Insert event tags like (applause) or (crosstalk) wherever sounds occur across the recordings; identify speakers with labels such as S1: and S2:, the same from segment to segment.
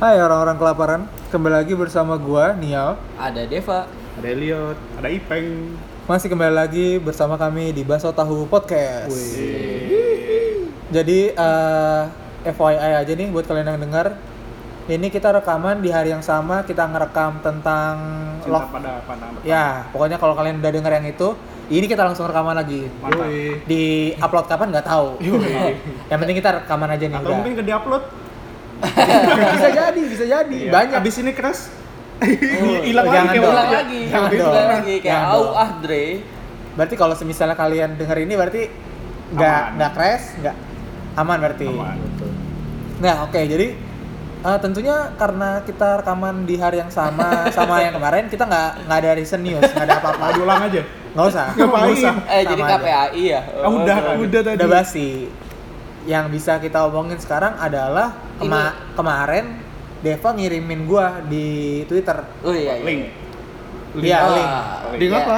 S1: Hai orang-orang kelaparan, kembali lagi bersama gua Nial.
S2: Ada Deva.
S3: ada Elliot, ada Ipeng.
S1: Masih kembali lagi bersama kami di Baso Tahu Podcast. Jadi eh, FYI aja nih buat kalian yang dengar, ini kita rekaman di hari yang sama kita ngerekam tentang
S3: Cinta
S1: love.
S3: pada pandangan pertama.
S1: Ya, pokoknya kalau kalian udah denger yang itu, ini kita langsung rekaman lagi.
S3: Mantap.
S2: Yoi.
S1: Di upload kapan nggak tahu. yang penting kita rekaman aja nih.
S3: Atau
S1: udah.
S3: mungkin ke upload
S1: (laughs) bisa jadi, bisa jadi. Banyak.
S3: Abis ini crash.
S2: Oh,
S3: (laughs) Hilang
S1: jangan
S3: lagi kayak
S1: dong.
S2: Ulang
S3: waktu-
S2: lagi.
S1: Jangan
S2: Ulang
S1: dong.
S2: lagi kayak
S1: Jangan
S2: au
S1: dong.
S2: ah Dre.
S1: Berarti kalau misalnya kalian denger ini berarti nggak
S3: Aman.
S1: nggak crash, nggak aman berarti.
S3: Aman.
S1: Nah oke jadi eh, tentunya karena kita rekaman di hari yang sama
S3: (laughs)
S1: sama yang kemarin kita nggak nggak ada recent news nggak ada apa-apa
S3: Mau diulang aja.
S1: nggak usah
S3: Ngapain?
S2: Eh jadi
S1: Sama aja.
S2: KPAI ya.
S3: Ah, udah, udah tadi.
S1: udah basi yang bisa kita omongin sekarang adalah kema- kemarin Deva ngirimin gua di Twitter
S2: Oh iya. iya.
S3: Link. Oh.
S1: Iya,
S2: Ah,
S1: link.
S3: Link
S2: iya.
S3: apa?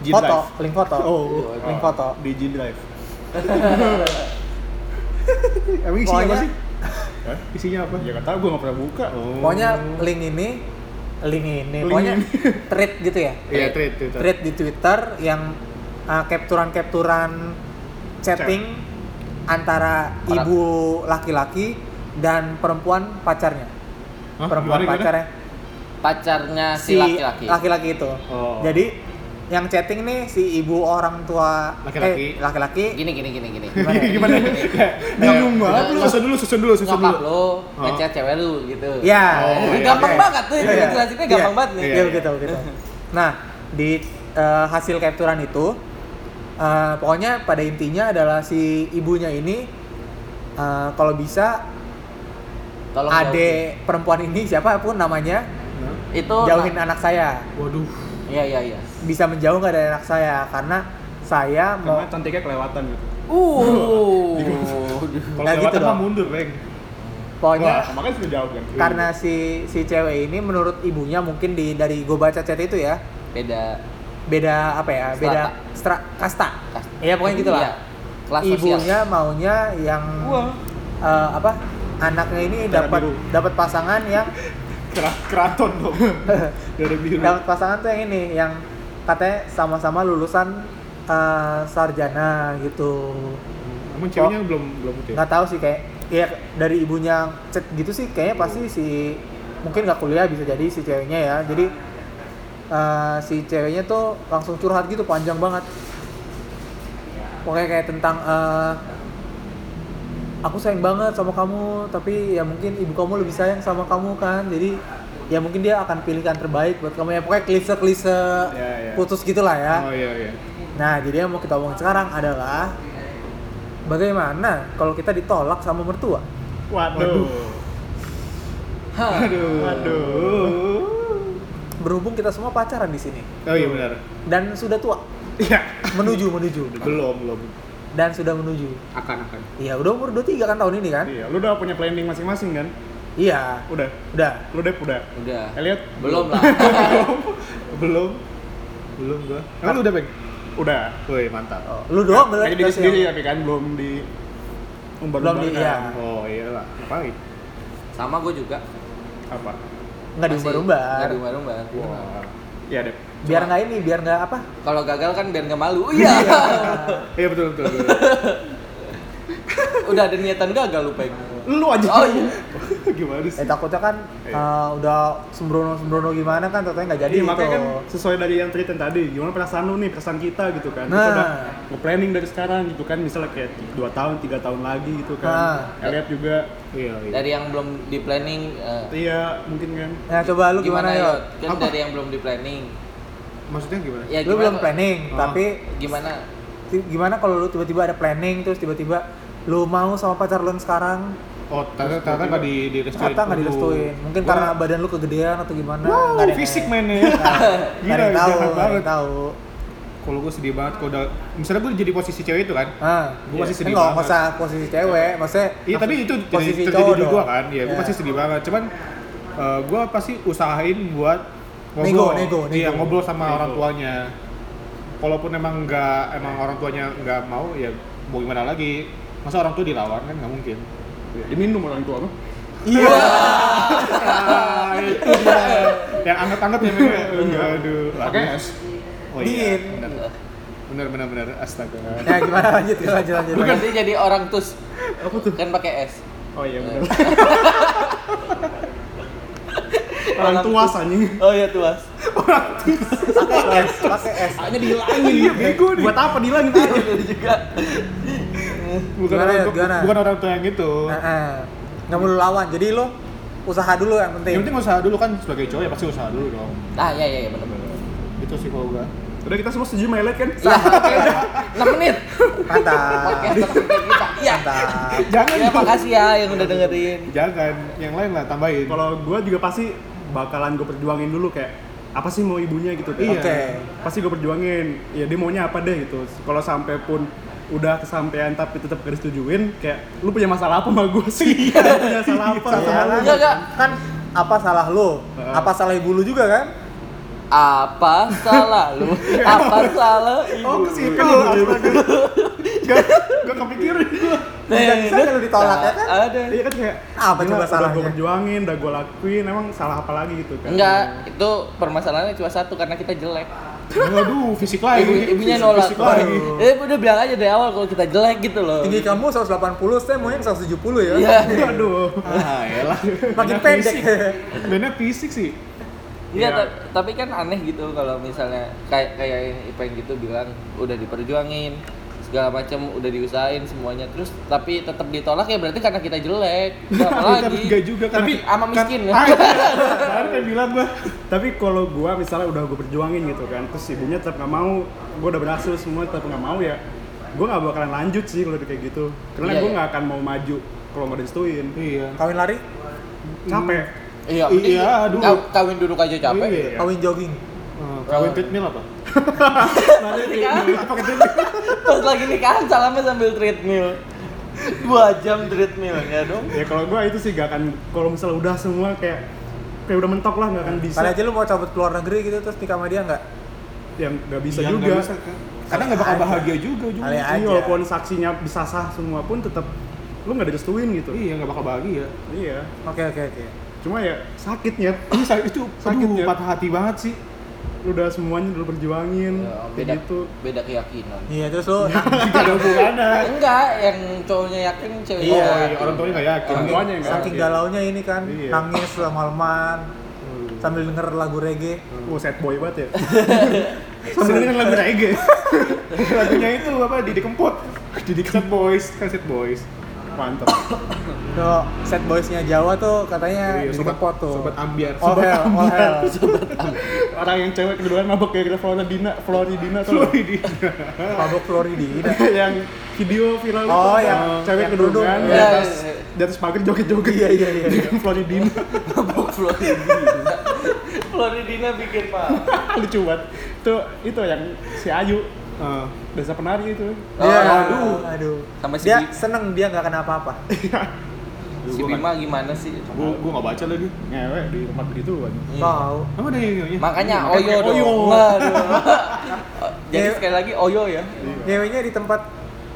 S3: G
S1: foto
S3: Drive.
S1: link foto
S3: Oh.
S1: link foto
S3: Di G Drive. (laughs) Emang isinya apa
S1: Pokoknya-
S3: sih? Hah? Isinya apa? Ya nggak tahu, gue nggak pernah buka. Oh.
S1: pokoknya link ini link ini
S3: Link
S1: pokoknya
S3: ini.
S1: thread gitu ya
S3: Iya, tweet, tweet.
S1: thread di Twitter yang uh, capturan-capturan chatting antara
S2: Orang.
S1: ibu laki-laki dan perempuan pacarnya.
S3: Hah?
S1: perempuan
S3: Gimana, gimana?
S1: pacarnya
S2: Pacarnya
S1: si
S2: si laki-laki.
S1: laki-laki itu.
S3: Oh.
S1: Jadi yang chatting nih si ibu orang tua eh,
S3: Laki-laki.
S1: laki-laki
S2: Gini gini gini gini.
S1: ya?
S3: Gimana? (laughs) Bingung banget lu. Susun dulu, susun dulu, susun dulu.
S2: Nyokap lo
S1: Oh.
S2: ngechat cewek lu gitu.
S1: Ya,
S3: Oh, iya.
S2: gampang
S1: Oke.
S2: banget tuh,
S1: Iya,
S2: itu
S1: iya.
S2: jelasinnya
S1: Iya.
S2: gampang banget nih.
S1: Iya,
S3: Iya,
S1: begitu, begitu. Nah, di eh, hasil capturan itu, eh, pokoknya pada intinya adalah si ibunya ini, eh, kalau bisa
S2: Tolong jauhin. Oh,
S1: ade perempuan ini siapapun namanya
S3: Hah?
S2: Itu
S1: jauhin anak saya,
S3: Waduh.
S2: Iya iya iya.
S1: bisa menjauh nggak dari anak saya karena saya mau
S3: Karena cantiknya kelewatan gitu.
S2: Uh.
S3: Kalau
S1: Nah, gitu
S3: kelewatan mah
S1: dong.
S3: mundur, Reng.
S1: pokoknya
S3: Wah, makanya sudah jauh kan.
S1: karena si si cewek ini menurut ibunya mungkin di dari gue baca chat itu ya
S2: Beda
S1: beda apa ya beda stra- kasta ya pokoknya gitulah
S2: Iya, kelas
S1: ibunya
S2: sosial.
S1: maunya yang
S3: Wah.
S1: eh, apa anaknya ini
S3: Darah
S1: dapat
S3: biru.
S1: dapat pasangan yang
S3: Kera- keraton
S1: (laughs)
S3: dong. Dari biru.
S1: dapat pasangan tuh yang ini yang katanya sama-sama lulusan eh, sarjana gitu
S3: Emang ceweknya
S1: Oh.
S3: belum belum putih.
S1: nggak tahu sih kayak ya dari ibunya chat gitu sih kayaknya pasti si mungkin nggak kuliah bisa jadi si ceweknya ya jadi eh, si ceweknya tuh langsung curhat gitu panjang banget pokoknya kayak tentang eh, aku sayang banget sama kamu tapi ya mungkin ibu kamu lebih sayang sama kamu kan jadi ya mungkin dia akan pilihan terbaik buat kamu ya pokoknya klise klise
S3: Ya, ya.
S1: putus gitulah ya
S3: Oh iya iya.
S1: Nah, jadi yang mau kita omongin sekarang adalah bagaimana kalau kita ditolak sama mertua.
S3: Waduh.
S2: Hah.
S3: Waduh. Waduh.
S1: Berhubung kita semua pacaran di sini
S3: Oh iya benar.
S1: dan sudah tua,
S3: Iya.
S1: menuju menuju
S3: Belum belum.
S1: dan sudah menuju.
S3: Akan akan.
S1: Iya, udah umur 23 kan tahun ini kan?
S3: Iya, lu udah punya planning masing-masing kan?
S1: Iya.
S3: Udah.
S1: Udah.
S3: Lu Dep udah.
S2: Udah.
S3: Elliot
S2: Belum
S1: (laughs)
S2: lah.
S3: belum. Belum gua. Emang lu udah, Bang? Udah. Woi, mantap.
S1: Oh, Lu doang
S3: Kayak diri
S1: berarti
S3: sendiri tapi kan belum di
S1: Belum di- iya.
S3: umbar-umbarkan. Oh iyalah. Ngapain?
S2: Sama gue juga.
S3: Apa?
S1: Enggak diumbar-umbar.
S2: Enggak diumbar-umbar.
S3: Wah. Iya, Dep.
S1: Biar nggak ini, biar nggak apa?
S2: Kalau gagal kan biar nggak malu. Oh, Iya.
S3: (laughs) Iya betul betul. betul.
S1: (laughs)
S2: Udah ada niatan gagal lupa ya.
S3: Lu aja.
S2: Oh, iya.
S3: (laughs) Gimana sih?
S1: Eh takutnya kan
S3: Iya.
S1: eh, udah sembrono-sembrono gimana kan takutnya nggak jadi
S3: Iya,
S1: gitu.
S3: makanya kan sesuai dari yang cerita tadi, gimana perasaan lu nih, perasaan kita gitu kan. Kita
S1: Nah.
S3: udah nge-planning dari sekarang gitu kan, misalnya kayak 2 tahun, 3 tahun lagi gitu
S1: Nah.
S3: kan. Elliot juga. Iya,
S2: Dari yang belum di planning eh,
S3: Iya, mungkin kan.
S1: Nah, coba lu gimana,
S3: ya?
S1: yo?
S2: Yot? Kan
S3: Apa?
S2: dari yang belum di planning.
S3: Maksudnya gimana?
S2: Ya
S1: Lu belum
S2: gimana?
S1: planning,
S3: Oh.
S1: tapi
S2: Gimana?
S1: Ti- gimana kalau lu tiba-tiba ada planning terus tiba-tiba lu mau sama pacar lu yang sekarang
S3: Oh, ternyata ternyata nggak di di
S1: ternyata nggak direstuin mungkin karena badan lu kegedean atau gimana
S3: Wow,
S1: nggak ada yang-
S3: fisik mainnya.
S1: (laughs) nggak ada yang tahu
S3: jahat
S1: nggak ada yang tahu
S4: kalau gue sedih banget kalau udah misalnya gue jadi posisi cewek itu kan
S1: ah
S4: gue masih sedih
S1: nggak nggak
S4: banget
S1: usah posisi cewek maksudnya
S4: iya tapi itu jadi-
S1: posisi cowok
S4: terjadi di
S1: dong.
S4: gue kan ya gue
S1: Iya.
S4: pasti sedih banget cuman
S3: eh,
S4: gue pasti usahain buat
S1: Nego,
S4: ngobrol
S1: nego, nego.
S4: iya ngobrol sama
S3: Nego.
S4: orang tuanya kalaupun emang nggak emang orang tuanya nggak mau ya mau gimana lagi masa orang tua dilawan kan nggak mungkin
S3: Diminum orang tua mah.
S1: Iya.
S3: (laughs) Ah, itu dia. Yang anget-anget
S1: (laughs)
S3: ya memang. ya. Aduh.
S4: Pakai
S3: lagu.
S4: es.
S3: Oh iya.
S1: Iya. Dingin.
S3: bener. Bener bener bener. Astaga.
S1: Nah, gimana lanjut lanjut lanjut.
S2: Bukan sih jadi orang tus
S3: Apa tuh?
S2: kan pakai es.
S3: Oh iya bener. Orang tuas anjing.
S2: Oh iya tuas.
S1: Pakai es, pakai es.
S2: Hanya dihilangin.
S3: Iya bego nih. Buat apa dihilangin?
S2: Itu juga.
S3: Bukan
S1: Gimana
S3: orang
S1: ya,
S3: tua,
S1: gimana?
S3: bukan orang tua yang itu.
S1: Nah, eh. nggak mau lu lawan. Jadi lo usaha dulu yang penting.
S3: Yang penting usaha dulu kan sebagai cowok ya pasti usaha dulu dong.
S2: Ah iya iya iya benar benar.
S3: Itu Gitu sih kalau gua.
S4: (laughs) Udah kita semua setuju melet kan?
S2: Lah, Iya, oke udah 6 menit. Podcast
S1: Mantap.
S2: terpenting kita. Iya.
S1: Mantap.
S3: Jangan
S2: Ya
S3: dong.
S2: makasih ya yang udah dengerin.
S3: Jangan. Yang lain lah tambahin.
S4: Kalau gue juga pasti bakalan gue perjuangin dulu kayak apa sih mau ibunya gitu kan.
S3: Iya.
S1: Oke.
S4: Pasti gue perjuangin. Ya dia maunya apa deh gitu. Kalau sampai pun udah kesampaian tapi tetap gak disetujuin kayak lu punya masalah apa sama gue sih? Lu (laughs) punya salah apa sama lu?
S1: Salah.
S2: Enggak, enggak.
S1: Kan apa salah lo? Apa salah ibu lu juga kan?
S2: Apa salah lu? Apa salah ibu?
S4: Oh, ke situ. Astaga. Gak, gak kepikiran gua.
S1: Bisa bisa kan lu ditolak ya kan?
S2: Ada.
S4: Iya kan kayak
S1: Apa coba
S4: gila, Udah gue
S1: salahnya?
S4: perjuangin, udah gue lakuin, emang salah apa lagi gitu kan?
S2: Enggak, itu permasalahannya cuma satu karena kita jelek.
S3: Waduh, fisik lagi.
S2: Ibu, ibunya
S3: Ah, iya,
S2: nolak.
S3: Fisik lagi.
S2: Eh, udah bilang aja dari awal kalau kita jelek gitu loh.
S1: Tinggi kamu 180, saya maunya 170 ya.
S2: Iya.
S3: (laughs)
S4: Aduh.
S3: Ah, elah.
S1: Makin pendek.
S3: Mainnya fisik sih.
S2: Iya,
S4: Iya.
S2: ta- tapi kan aneh gitu kalau misalnya kayak kayak yang Ipeng gitu bilang udah diperjuangin segala macam udah diusahain semuanya terus tapi tetap ditolak ya berarti karena kita jelek nggak apa
S3: Tapi
S2: lagi
S3: enggak Iya, juga kan.
S2: tapi sama miskin ya
S3: Ah, iya.
S4: Baru dia bilang gua, tapi kalau gua misalnya udah gue perjuangin gitu kan, terus ibunya tetap nggak mau, gua udah berhasil semua tetap nggak mau ya, gua nggak bakalan lanjut sih kalau kayak gitu,
S2: Iya,
S4: karena gua
S2: iya.
S4: nggak akan mau maju kalau nggak disetuin,
S3: Iya.
S1: Kawin lari,
S4: capek.
S2: (laughs)
S3: Iya,
S2: iya mending
S3: aduh.
S2: kaw- kawin duduk aja capek
S3: Iya.
S1: kawin jogging.
S3: Eh, Kawin treadmill apa?
S2: Pas lagi nikahan salamnya sambil treadmill. Dua jam treadmill ya dong.
S4: Ya kalau gua itu sih nggak akan, kalau misalnya udah semua kayak kayak udah mentok lah nggak akan bisa,
S1: Kali aja lu mau cabut keluar negeri gitu terus nikah sama dia nggak?
S4: yang nggak bisa
S3: Yang
S4: juga.
S3: nggak bisa, kan? Karena nggak bakal
S1: Aja.
S3: bahagia juga juga.
S1: Kali
S4: Iya,
S1: aja.
S4: walaupun saksinya bisa sah semua pun tetap lu nggak direstuin gitu.
S3: Iya, nggak bakal bahagia.
S4: Iya.
S1: Oke oke oke.
S4: Cuma ya sakitnya,
S3: Ih, sakit itu
S4: Sakit
S3: aduh,
S4: ya.
S3: patah hati banget sih.
S4: lu udah semuanya lu perjuangin,
S2: Ya, beda
S4: kayak gitu.
S2: beda keyakinan.
S1: Iya terus lu
S3: Gak ada hubungannya.
S2: Enggak, yang cowoknya yakin cewek
S1: Iya,
S2: nggak
S3: Iya, orang
S2: (laughs)
S3: tuanya nggak yakin.
S4: Orang tuanya yang nggak
S1: saking galaunya ini kan
S4: Iya.
S1: nangis lama-lamaan sambil denger lagu reggae.
S4: Wah, sad boy banget ya.
S3: Sambil dengan lagu reggae. Lagunya itu apa? Didi Kempot. Didi Kempot Boys, Kaset Boys.
S4: kan Mantap.
S1: Tuh, set boysnya Jawa tuh katanya
S3: Iya,
S1: di
S3: sobat-
S1: kepot tuh.
S3: sobat ambiar.
S1: All
S3: Sobat
S1: hell, all hell.
S3: Orang yang cewek kedua mabok kayak Floridina, Floridina tuh. Floridina.
S1: Pabok Floridina.
S4: (laughs) yang video viral itu
S1: Oh,
S4: ada
S1: yang-
S4: cewek
S1: yang
S4: kerudung kan
S1: kerudung.
S4: di
S2: Iya,
S4: atas
S2: iya, iya.
S4: di atas pagar joget-joget iya iya iya (laughs) Floridina
S2: mabuk Floridina. Floridina bikin pak.
S4: lucu banget itu itu yang si Ayu
S3: Ah.
S4: desa penari itu
S1: Iya,
S2: Oh,
S1: aduh, aduh.
S2: Sama si
S1: Dia
S2: Bi-
S1: seneng dia nggak kena apa-apa.
S2: Si Bima gimana sih?
S3: Gue gue nggak baca lagi.
S4: ngewe di tempat begitu kan
S2: Iya.
S1: Tahu.
S3: Apa deh?
S2: Nah, Makanya Oyo dong.
S3: Iya, kan Oyo.
S2: Waduh. Jadi
S1: Iya.
S2: sekali lagi Oyo ya.
S1: Ngewenya di tempat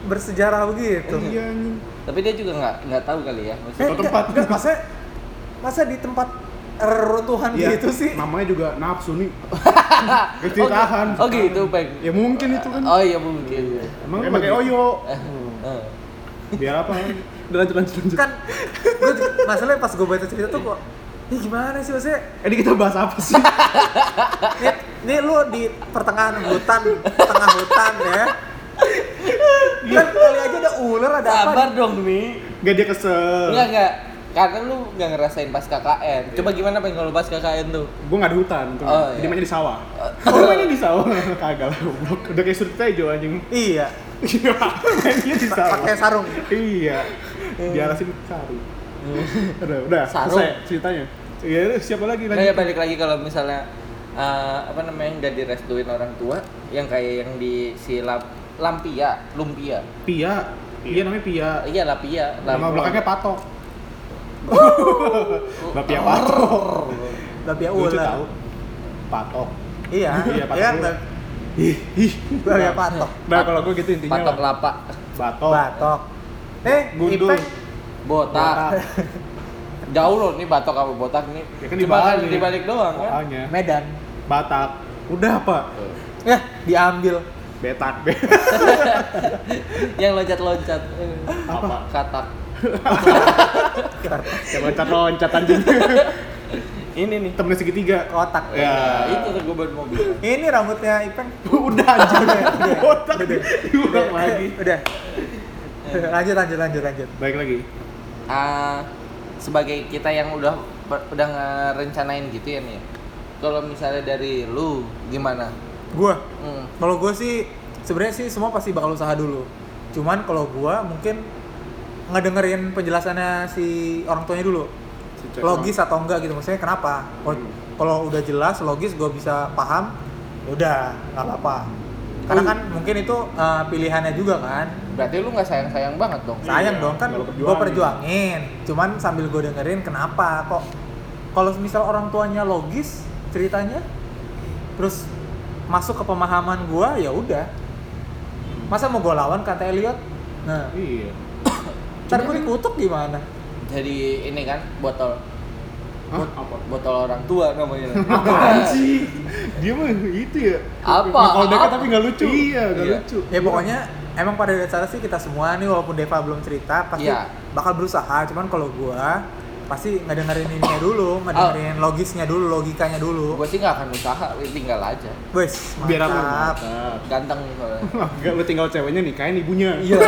S1: bersejarah begitu.
S4: iya anjing.
S2: Tapi dia juga nggak nggak tahu kali
S1: Eh,
S2: ya. Maksudnya,
S3: Satu tempat.
S1: enggak, enggak, masa masa di tempat reruntuhan
S4: Iya,
S1: gitu
S3: (laughs)
S1: sih?
S4: namanya juga nafsu nih
S3: Gede tahan.
S2: oh gitu, Peng.
S4: ya mungkin itu kan
S2: Oh iya mungkin.
S3: Emang
S4: Emang
S3: pakai
S4: gitu. (laughs)
S3: oyo.
S2: Eh.
S3: Biar apa?
S4: udah lanjut lanjut lanjut
S1: Kan gua juga- masalahnya pas gue baca cerita tuh kok ini gimana sih maksudnya?
S4: ini kita bahas apa sih
S1: Ini, ini lu di pertengahan hutan, tengah hutan ya. Kan kali aja ada ular, ada apa?
S2: Sabar dong nih.
S3: Gak dia kesel.
S2: Enggak enggak. Karena lu nggak ngerasain pas KKN. Coba gimana pengen kalau pas KKN tuh?
S4: gue nggak di hutan tuh
S2: Oh, iya.
S4: jadi mainnya di sawah
S3: Oh, mainnya di sawah. (laughs) Kagak lah, goblok. Udah kayak sudut hijau anjing. (laughs)
S1: Iya,
S3: Iya, mainnya di sawah.
S1: pakai sarung.
S3: Iya. Diarasin saru. Udah, udah.
S2: Saru.
S3: Selesai ceritanya. Iya, terus siapa lagi
S2: Nah, ya
S3: lagi?
S2: balik lagi kalau misalnya eh, apa namanya nggak direstuin orang tua, yang kayak yang di si Lam- Lampia, Lumpia.
S3: Pia. Iya namanya Pia.
S2: Iya Lapia.
S3: Nama belakangnya Patok. (laughs) Mbak Pia Patok.
S1: Tapi ya
S3: Lucu
S1: ular.
S3: tahu. Patok.
S1: Iya,
S3: Iya,
S1: iya
S3: pakai
S1: kan?
S3: ular. Ih, ih.
S1: Bapak ya, patok,
S4: nah kalau gue gitu intinya
S2: Patok
S4: lah.
S2: Lapa,
S3: Batok.
S1: batok. Eh,
S3: Gundul.
S1: Ipeng,
S2: Botak.
S3: Botak.
S2: jauh loh nih batok sama botak nih
S3: Ya kan
S2: cuma kan
S3: dibalik.
S2: dibalik doang kan
S3: Makanya
S1: Medan.
S3: Batak
S4: Udah pak,
S1: Ya, diambil.
S3: Betak
S2: yang loncat-loncat
S3: Apa?
S2: katak
S3: Kayak loncat-loncat anjing
S2: ini nih
S3: Temennya segitiga
S1: Kotak.
S2: Nah,
S3: Ya
S2: itu tuh gue baru mau bilang
S1: Ini rambutnya Ipeng.
S3: (laughs)
S1: Iya,
S3: Udah anjing Botak Diulang lagi
S1: Udah. gitu. lanjut lanjut lanjut lanjut.
S3: Baik lagi
S2: Ah, sebagai kita yang udah udah ngerencanain gitu ya nih kalau misalnya dari lu gimana
S1: Gua
S2: hmm.
S1: kalau gue sih sebenarnya sih semua pasti bakal usaha dulu. Cuman kalau gua mungkin ngedengerin penjelasannya si orang tuanya dulu. Logis atau enggak gitu maksudnya kenapa? Kalau-
S3: Hmm.
S1: Kalau udah jelas logis gua bisa paham, ya udah nggak apa-apa. Karena
S3: Oh,
S1: kan mungkin itu eh, pilihannya juga kan.
S2: berarti lu nggak sayang sayang banget dong
S1: sayang
S3: Iya,
S1: dong kan
S3: nggak lu
S1: gue
S3: perjuangin.
S1: perjuangin cuman sambil gue dengerin kenapa kok kalau misal orang tuanya logis ceritanya terus masuk ke pemahaman gue ya udah masa mau gue lawan kata Elliot nah
S3: Iya
S1: ntar gue dikutuk gimana
S2: jadi ini kan botol
S3: Hah? Apa?
S2: botol orang tua namanya (laughs)
S3: Anjing Dia mah itu ya
S2: Apa?
S3: Kalau dekat
S2: Apa?
S3: tapi nggak lucu Iya nggak
S2: Iya.
S3: lucu
S1: ya pokoknya emang pada dasarnya sih kita semua nih walaupun Deva belum cerita pasti
S2: Iya.
S1: bakal berusaha cuman kalau gue pasti ngedengerin ininya dulu ngedengerin logisnya dulu logikanya dulu
S2: gue sih nggak akan usaha tinggal aja
S1: wes
S3: Biar apa?
S1: mantap
S3: Mantap.
S2: ganteng soalnya
S4: Enggak, lu tinggal ceweknya nikahin ibunya.
S1: iya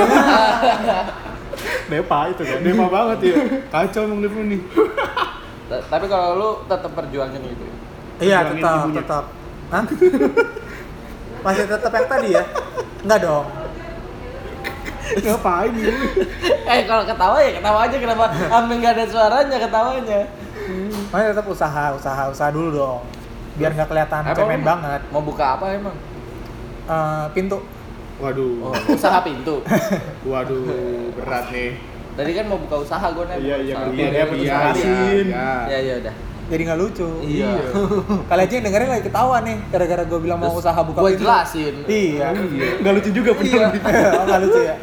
S3: Depa itu kan Depa banget ya Kacau emang Depa nih
S2: Ta- tapi kalau lu tetap perjuangin gitu ya?
S1: Iya
S3: Perjuangin
S1: tetap
S3: ibunya.
S1: tetap. Hah? (laughs) Masih tetap yang tadi ya? Enggak dong.
S3: Ngapain lu?
S2: eh kalau ketawa ya ketawa aja kenapa sampai nggak ada suaranya ketawanya
S1: Masih tetap usaha, usaha, usaha dulu dong. Biar nggak kelihatan
S2: Emang
S1: cemen
S2: lu
S1: banget.
S2: mau buka apa emang
S1: Eh, pintu.
S3: Waduh
S2: oh, usaha pintu
S3: Waduh Berat nih
S2: tadi kan mau buka usaha gue nih
S3: Iya iya
S2: usaha
S3: ngerti
S2: pintu.
S3: dia
S4: putus
S3: iya
S4: asin.
S3: iya.
S2: ya ya udah
S1: Jadi nggak lucu.
S2: iya
S1: (laughs) Kali aja yang dengerin lagi ketawa nih, gara-gara gue bilang mau
S2: Terus
S1: usaha buka
S2: gua Oh,
S1: pintu.
S2: jelasin.
S1: Iya.
S4: Enggak lucu juga
S2: Iya.
S4: bener.
S2: (laughs)
S1: oh, nggak lucu ya?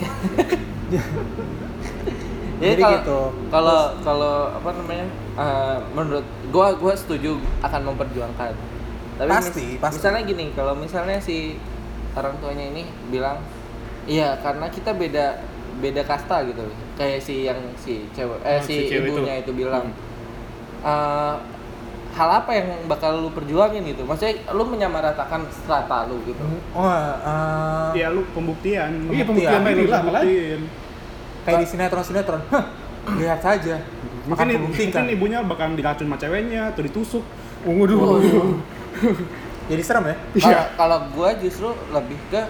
S2: Jadi
S1: Jadi
S2: kalau
S1: gitu.
S2: kalau kalau apa namanya eh, menurut gua gua setuju akan memperjuangkan tapi
S1: Pasti, pasti.
S2: misalnya gini kalau misalnya si orang tuanya ini bilang iya karena kita beda beda kasta gitu kayak si yang si cewek eh
S3: Hmm,
S2: si,
S3: si cewek
S2: ibunya
S3: itu.
S2: itu,
S3: Hmm.
S2: bilang "Eh, hal apa yang bakal lu perjuangin gitu maksudnya lu menyamaratakan strata lu gitu
S1: Oh, eh,
S4: Ya lu pembuktian.
S3: Iya pembuktian
S1: Pembuktian.
S3: ini lah apalagi.
S4: Pembuktiin.
S1: kayak di sinetron-sinetron. Hah, Lihat saja.
S4: Mungkin,
S1: Akan
S4: ibu-
S1: kubuktikan.
S4: mungkin ibunya bakal diracun sama ceweknya atau ditusuk.
S3: Waduh
S1: Jadi serem ya?
S2: Kalau-
S3: Iya.
S2: Kalau gue justru lebih ke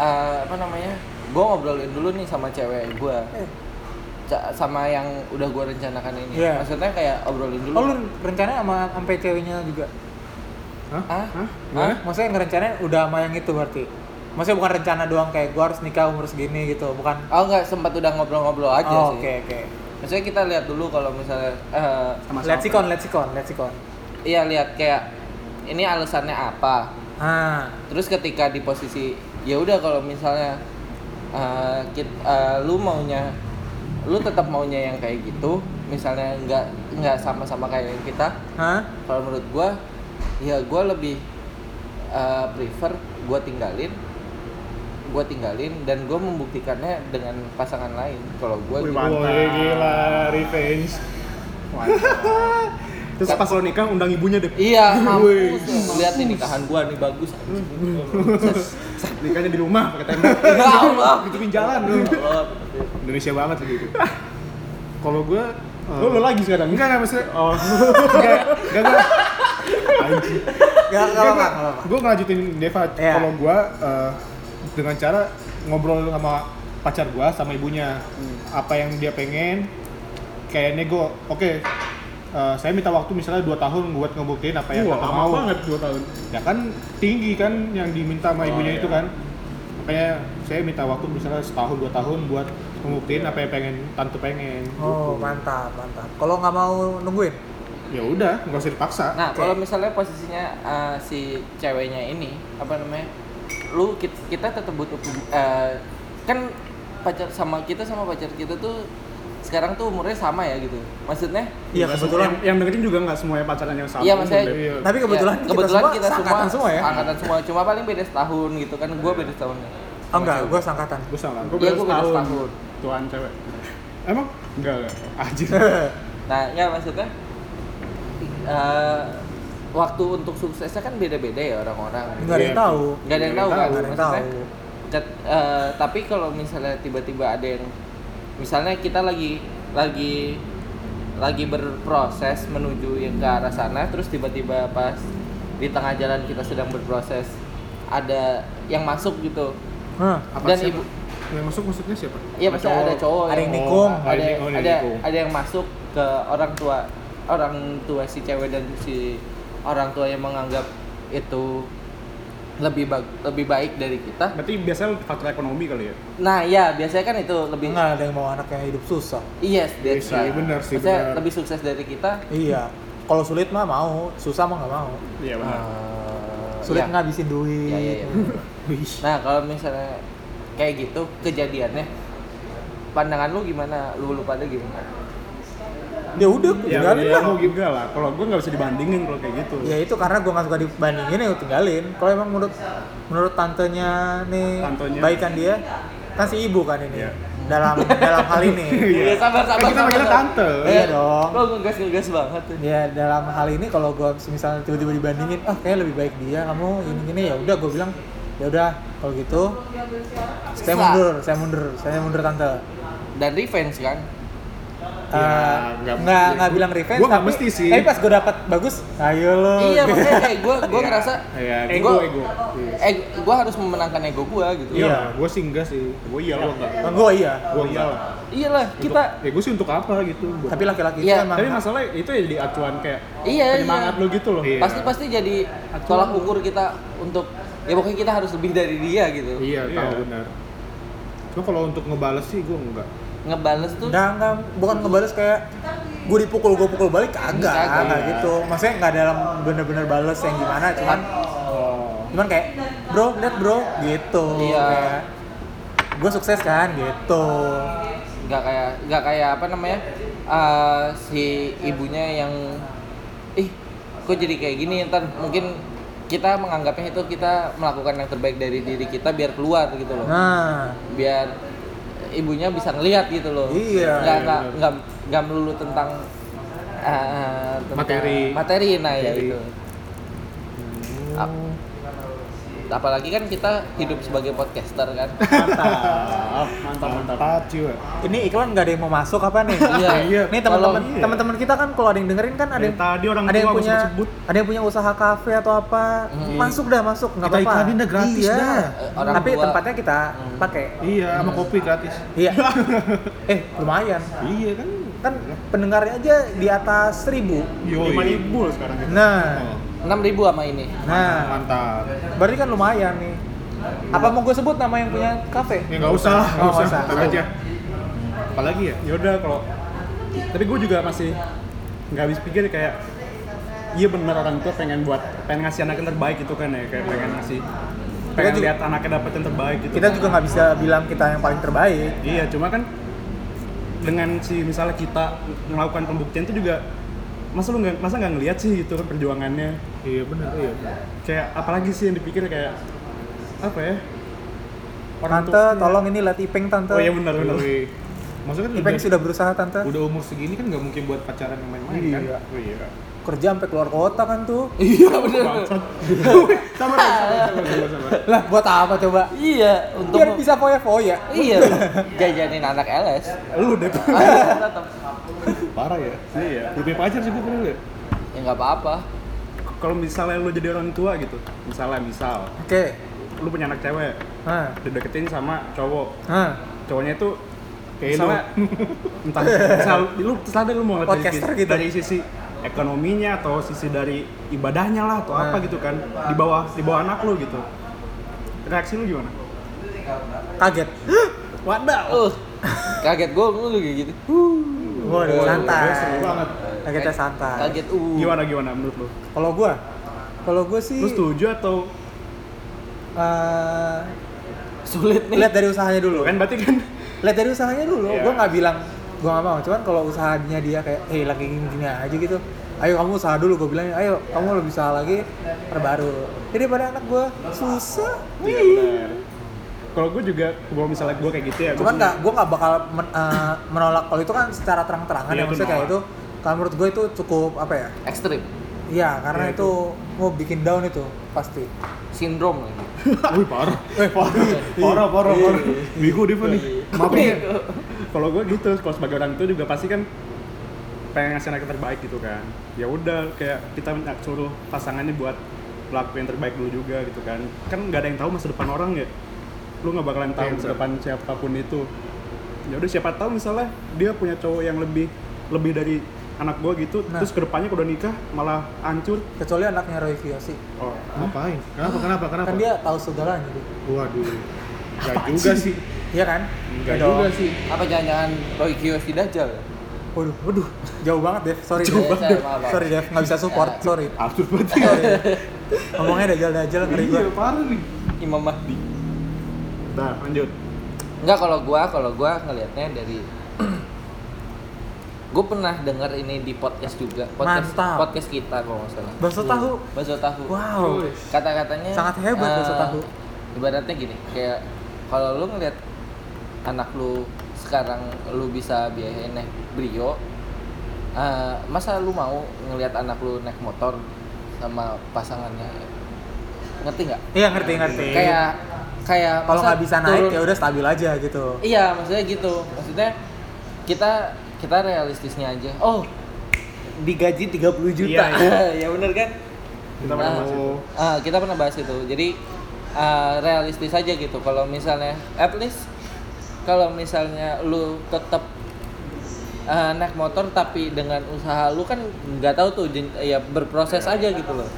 S2: eh, apa namanya? Gue ngobrolin dulu nih sama cewek gue,
S1: Eh,
S2: sama yang udah gue rencanakan ini.
S1: Iya.
S2: Maksudnya kayak obrolin dulu.
S1: Oh lu rencananya sama sampai ceweknya juga?
S4: Hah?
S2: Hah?
S4: Hah?
S2: Hah?
S4: Hah?
S1: Maksudnya ngerencanain udah sama yang itu berarti? Maksudnya bukan rencana doang kayak gua harus nikah umur segini gitu, bukan?
S2: Oh enggak sempat udah ngobrol-ngobrol aja
S1: Oh,
S2: sih.
S1: Oke oke.
S2: Maksudnya kita lihat dulu kalau misalnya, eh,
S4: Sama
S1: Let's
S4: siapa?
S1: sikon, let's sikon, let's sikon.
S2: iya lihat kayak ini alasannya apa.
S1: Ah,
S2: Terus ketika di posisi ya udah kalau misalnya eh, kit- eh, lu maunya lu tetap maunya yang kayak gitu, misalnya nggak nggak sama-sama kayak yang kita,
S1: hah?
S2: kalau menurut gua ya gua lebih uh, prefer gua tinggalin gua tinggalin dan gua membuktikannya dengan pasangan lain kalau gua
S4: Wih,
S2: gitu.
S4: mantap.
S3: Woi gila revenge
S4: Terus pas lo nikah undang ibunya deh.
S2: iya
S4: Wih.
S2: mampus lihat nih nikahan gua nih bagus anjing.
S4: (laughs) Nikahnya di rumah pakai tenda.
S2: ya Allah
S4: Gitu jalan lu.
S2: Ya Allah.
S3: Indonesia banget sih gitu eh,
S4: Kalau gue lo lo lagi sekarang
S3: Enggak enggak maksudnya Oh Enggak Enggak enggak Anjing
S1: Gak gak apa-apa, gak apa-apa.
S3: Gue ngelanjutin Deva
S1: Iya.
S3: Kalau gue Dengan cara Ngobrol sama pacar gue Sama ibunya
S2: Hmm.
S3: Apa yang dia pengen Kayak nego Oke eh, Saya minta waktu misalnya 2 tahun Buat ngebuktiin apa yang
S4: Wah,
S3: kakak
S4: lama
S3: mau
S4: banget 2 tahun.
S3: Ya kan tinggi kan Yang diminta sama
S2: Oh,
S3: ibunya
S2: iya.
S3: itu kan Makanya saya minta waktu misalnya setahun dua tahun buat ngebuktiin
S2: Iya.
S3: apa yang pengen tante pengen.
S1: Oh
S3: Gitu.
S1: mantap mantap. Kalau nggak mau nungguin,
S3: Ya udah, nggak usah dipaksa.
S4: Kan
S2: nah
S1: Oke.
S2: kalau misalnya posisinya uh, si ceweknya ini apa namanya lu kit- eh, kita tetap butuh pembu- uh, kan pacar sama kita sama pacar kita tuh sekarang tuh umurnya sama ya gitu maksudnya
S1: Iya,
S4: Nggak
S1: kebetulan.
S4: semua- yang, yang dengerin juga nggak semuanya pacaran yang sama
S2: Iya, maksudnya-
S4: Beb.
S3: Iya.
S1: Tapi kebetulan,
S2: ya,
S1: kita
S2: kebetulan
S1: semua
S2: kita semua
S1: seangkatan semua ya?
S2: angkatan semua cuma paling beda setahun gitu kan gue beda setahun
S1: Ah enggak, gue sangkatan.
S3: Gue salah.
S4: Gua
S2: Iya,
S4: beda
S2: gua beda
S4: setahun.
S2: setahun.
S4: Tuan cewek.
S3: Emang? Enggak, enggak. Anjir.
S2: nah ya maksudnya eh, waktu untuk suksesnya kan beda-beda ya orang-orang
S1: Enggak ada yang tahu.
S2: nggak ada yang
S3: Nggak
S2: tahu
S1: tahu,
S3: ada yang
S2: kan
S1: nggak ada yang
S2: maksudnya cet- eh, tapi kalau misalnya tiba-tiba ada yang misalnya kita lagi lagi lagi berproses menuju yang ke arah sana terus tiba-tiba pas di tengah jalan kita sedang berproses ada yang masuk gitu
S1: Hah.
S3: Apa
S2: dan
S3: siapa?
S2: ibu
S3: Yang masuk maksudnya siapa?
S2: iya pasti ada cowok
S1: Ada yang
S2: yang-
S1: nikung.
S3: Oh,
S2: ada
S3: ada yang- oh, ada yang
S2: ada
S3: nikung.
S2: ada yang masuk ke orang tua orang tua si cewek dan si orang tua yang menganggap itu lebih bag- lebih baik dari kita
S4: Berarti biasanya faktor ekonomi kali ya?
S2: Nah, ya biasanya kan itu lebih
S1: Enggak ada yang mau anaknya hidup susah.
S2: Yes, Iya, that's
S3: Iya sih,
S2: right.
S3: benar sih,
S2: Maksudnya
S3: benar.
S2: lebih sukses dari kita.
S1: Iya. Kalau sulit mah mau, susah mah nggak mau. iya. Ah.
S4: Iya benar.
S2: eh,
S1: Sulit
S2: ya.
S1: ngabisin duit.
S2: Ya, ya, ya.
S1: (laughs)
S2: Nah, kalau misalnya kayak gitu kejadiannya pandangan lu gimana? Lu gitu. lu pada gimana?
S1: Dia udah,
S3: Iya,
S4: Ya,
S1: tinggalin
S4: ya,
S1: lah.
S4: mau juga lah. Kalau gue nggak bisa dibandingin kalau kayak gitu.
S1: Ya itu karena gue gak suka dibandingin ya gue tinggalin. Kalau emang menurut menurut tantenya nih
S4: Tantenya.
S1: baikan dia kan si ibu kan ini
S4: Iya.
S1: dalam dalam hal ini.
S4: Iya.
S2: Ya, sabar
S3: Kan
S2: sabar.
S3: kita
S2: sabar,
S3: manggilnya
S2: sabar.
S3: tante.
S1: Iya
S2: Eh,
S1: dong.
S2: Lu ngegas ngegas banget. tuh.
S1: Ya dalam hal ini kalau gue misalnya tiba-tiba dibandingin, ah kayak lebih baik dia, kamu ini gini ya udah gue bilang ya udah kalau gitu saya
S2: Sah.
S1: mundur, saya mundur, saya mundur tante.
S2: Dan revenge kan.
S1: Eh,
S3: Ya, nggak-
S1: nggak nggak bilang revenge
S3: Gua nggak
S1: tapi
S3: mesti sih.
S1: tapi pas gue dapat bagus ayo lo
S2: Iya, makanya kayak gua
S3: Oh.
S2: gua
S3: Iya.
S2: ngerasa
S3: Iya,
S4: Ego,
S2: Eh, gua-
S4: ego. Iya.
S2: eh gua harus memenangkan ego gua gitu.
S1: Iya.
S3: Iya, gue sih enggak sih. Gue iyalah. Gue enggak.
S1: gue iya
S3: Gue iyalah.
S2: Iyalah, kita
S3: Untuk- Ya gue sih untuk apa gitu. Buat-
S1: tapi laki-laki
S2: Iya.
S1: itu emang
S4: Tapi masalah itu ya jadi acuan kayak
S2: Iya,
S4: penyemangat
S2: iya.
S4: lo gitu loh.
S3: Iya.
S2: pasti pasti jadi tolak ukur kita untuk ya pokoknya kita harus lebih dari dia gitu
S3: Iya,
S4: Iya.
S3: tahu benar. Cuma kalau untuk ngebales sih gue enggak.
S2: ngebales tuh
S1: Nggak, nggak, bukan ngebales kayak gue dipukul, gue pukul balik, kagak,
S2: Kagak.
S1: kagak gitu. Maksudnya nggak dalam bener-bener bales yang gimana, cuman cuman kayak bro, lihat bro, gitu.
S2: Iya.
S1: Kayak, gue sukses kan, gitu.
S2: nggak kayak nggak kayak apa namanya eh, si ibunya yang ih kok jadi kayak gini ntar mungkin kita menganggapnya itu kita melakukan yang terbaik dari diri kita biar keluar gitu loh
S1: Nah,
S2: biar ibunya bisa ngelihat gitu loh
S1: Iya,
S2: nggak
S3: iya,
S2: nggak
S3: benar.
S2: nggak nggak melulu tentang, eh, tentang
S3: Materi.
S2: materi nah ya
S3: Materi.
S2: itu Ap- apalagi kan kita hidup sebagai podcaster kan
S1: mantap.
S4: Ah, Mantap, mantap.
S3: Mantap juga.
S1: Ini iklan nggak ada yang mau masuk apa nih?
S2: Iya.
S3: Iya.
S1: Nih teman-teman,
S3: Tolong.
S1: teman-teman kita kan kalau ada yang dengerin kan ada
S4: Dari
S1: yang
S4: tadi orang
S1: ada yang
S4: tua gua
S1: punya
S4: sebut-sebut.
S1: ada yang punya usaha kafe atau apa
S2: Hmm.
S1: masuk dah masuk nggak
S3: Kita
S1: apa-apa
S3: iklanin dah, gratis
S1: iya.
S3: dah.
S2: Eh, orang
S1: tapi
S2: tua.
S1: tempatnya kita
S2: Hmm.
S1: pakai
S3: Iya, sama kopi gratis. (laughs)
S1: Iya. eh, lumayan.
S3: Iya kan.
S1: Kan pendengarnya aja di atas 1000.
S3: Yoi. Oh,
S4: Lima ribu loh sekarang gitu.
S1: Nah.
S2: 6000 sama ini
S1: Nah,
S3: Mantap.
S1: berarti kan lumayan nih. Apa mau gue sebut nama yang punya kafe?
S3: Ya nggak usah lah,
S1: Oh,
S3: nggak
S1: nggak
S3: usah.
S1: usah.
S3: Ntar aja. Apalagi ya?
S4: Ya udah kalau tapi gue juga masih nggak habis pikir kayak iya bener orang tua pengen buat pengen ngasih anak yang terbaik gitu kan ya kayak pengen ngasih pengen
S1: juga-
S4: lihat anaknya dapet yang terbaik gitu
S1: Kita juga nggak bisa bilang kita yang paling terbaik.
S4: Iya, cuma kan dengan si misalnya kita melakukan pembuktian itu juga masa lu nggak masa nggak ngelihat sih gitu kan perjuangannya
S3: Iya benar, iya.
S4: kayak apalagi sih yang dipikir kayak apa ya
S1: Tante,
S4: tua-
S1: tolong ini lihat Ipeng tante.
S4: oh iya benar benar
S3: Yoi. Maksudnya kan
S1: Ipeng
S3: udah-
S1: sudah berusaha tante.
S3: udah umur segini kan nggak mungkin buat pacaran yang main-main kan?
S1: Iya.
S3: Oh, iya.
S1: Kerja sampai keluar kota kan tuh.
S2: iya bener
S3: (laughs)
S4: sabar sabar sabar sabar, sabar.
S1: Lah, buat apa coba?
S2: iya untuk
S1: Biar bisa foya-foya. (laughs)
S2: iya jajanin anak LS
S4: lu deh
S2: tetap
S3: Parah ya.
S4: iya
S3: Udah punya pacar sih gue pernah ya.
S2: (laughs) ya nggak apa-apa
S4: kalau misalnya lu jadi orang tua gitu misalnya misal
S1: Oke.
S4: lu punya anak cewek
S1: Nah.
S4: dideketin sama cowok
S1: Nah.
S4: cowoknya itu
S3: Kayak
S4: misalnya
S1: (laughs)
S4: entah misal lu terserah deh lu mau ngeliat dari,
S1: Podcaster
S4: sisi-
S1: gitu.
S4: dari sisi ekonominya atau sisi dari ibadahnya lah atau apa
S1: Nah.
S4: gitu kan di bawah di bawah anak lu gitu reaksi lu gimana?
S1: Hmm. Kaget.
S4: Wadaw.
S2: uh kaget gue lu kayak gitu
S1: Uh, Waduh, santai.
S3: Iya,
S4: gue seru banget.
S1: Kagetnya ya, santai.
S2: Eh, kaget uh
S4: Gimana gimana menurut lu?
S1: Kalau gua, kalau gua sih
S4: Lu setuju atau
S1: eh,
S2: sulit nih
S1: lihat dari usahanya dulu.
S4: kan (laughs) berarti kan
S1: Lihat dari usahanya dulu.
S4: Iya.
S1: Gua nggak bilang gue gak mau cuman kalau usahanya dia kayak eh lagi gini aja gitu ayo kamu usaha dulu gue bilangnya ayo kamu lebih usaha lagi terbaru jadi pada anak gue susah
S4: Iya, benar.
S3: Kalau gue juga, kalau misalnya gue kayak gitu ya,
S1: cuman nggak gue nggak bakal men- eh, menolak kalau itu kan secara terang-terangan
S3: Iya,
S1: ya,
S3: itu
S1: maksudnya kayak itu
S3: nolak.
S1: kalau menurut gue itu cukup apa ya
S2: ekstrim
S1: iya karena
S3: Iya,
S1: itu mau bikin down itu pasti
S2: sindrom lagi
S3: Wih parah.
S1: eh
S3: Parah, parah, parah.
S4: Bego dia Pak, nih.
S1: Iya.
S3: Maaf ya. Kalau gue gitu, kalau sebagai orang tua juga pasti kan pengen ngasih anak yang terbaik gitu kan. Ya udah, kayak kita minta suruh pasangannya buat lakuin yang terbaik dulu juga gitu kan. Kan nggak ada yang tahu masa depan orang ya. Lu nggak bakalan tahu
S4: Iya,
S3: masa
S4: benar.
S3: depan siapapun itu.
S4: Ya udah siapa tahu misalnya dia punya cowok yang lebih lebih dari anak gue gitu,
S1: Nah.
S4: terus kedepannya kalau udah nikah malah hancur.
S1: kecuali anaknya Roy Kiyoshi
S4: Oh,
S3: Ngapain? Kenapa? Kenapa? Kenapa?
S1: kan dia tahu segalanya gitu
S3: Waduh. Gak juga sih.
S1: iya kan
S3: Nggak
S1: Ya dong.
S3: juga sih.
S2: apa jangan-jangan Roy Kiyoshi Dajjal ya?
S1: waduh waduh jauh banget Dev sorry
S2: Jauh
S1: Dev.
S2: banget. Maaf,
S1: (laughs)
S2: maaf.
S1: sorry Dev nggak bisa support
S2: Ya.
S1: sorry
S3: Absurd banget.
S1: sorry ngomongnya dajal dajal ngeri gue
S4: iya parah nih.
S2: Imam Mahdi
S4: Nah, lanjut.
S2: Enggak kalau gua, kalau gua ngelihatnya dari (clears throat) gue pernah denger ini di podcast juga podcast
S1: Mantap.
S2: podcast kita kalau nggak salah
S1: Bakso tahu.
S2: bakso tahu
S1: wow
S2: kata-katanya
S1: Sangat hebat ya,
S2: eh,
S1: bakso tahu.
S2: ibaratnya gini kayak kalau lu ngeliat anak lu sekarang lu bisa biayain naik brio eh, masa lu mau ngelihat anak lu naik motor sama pasangannya ngerti nggak
S1: iya ngerti ngerti
S2: kayak kayak
S1: kalau
S2: masa
S1: nggak bisa naik
S2: turun-
S1: ya udah stabil aja gitu
S2: Iya, maksudnya gitu. Maksudnya kita kita realistisnya aja. Oh, digaji 30
S1: Iya,
S2: juta. (laughs) ya bener kan?
S4: Kita pernah
S3: Oh.
S2: Ah,
S4: bahas itu.
S2: ah, kita pernah bahas itu. Jadi ah, realistis aja gitu. Kalau misalnya at least kalau misalnya lu tetap ah, naik motor tapi dengan usaha lu kan nggak tahu tuh jen- ya berproses aja gitu loh.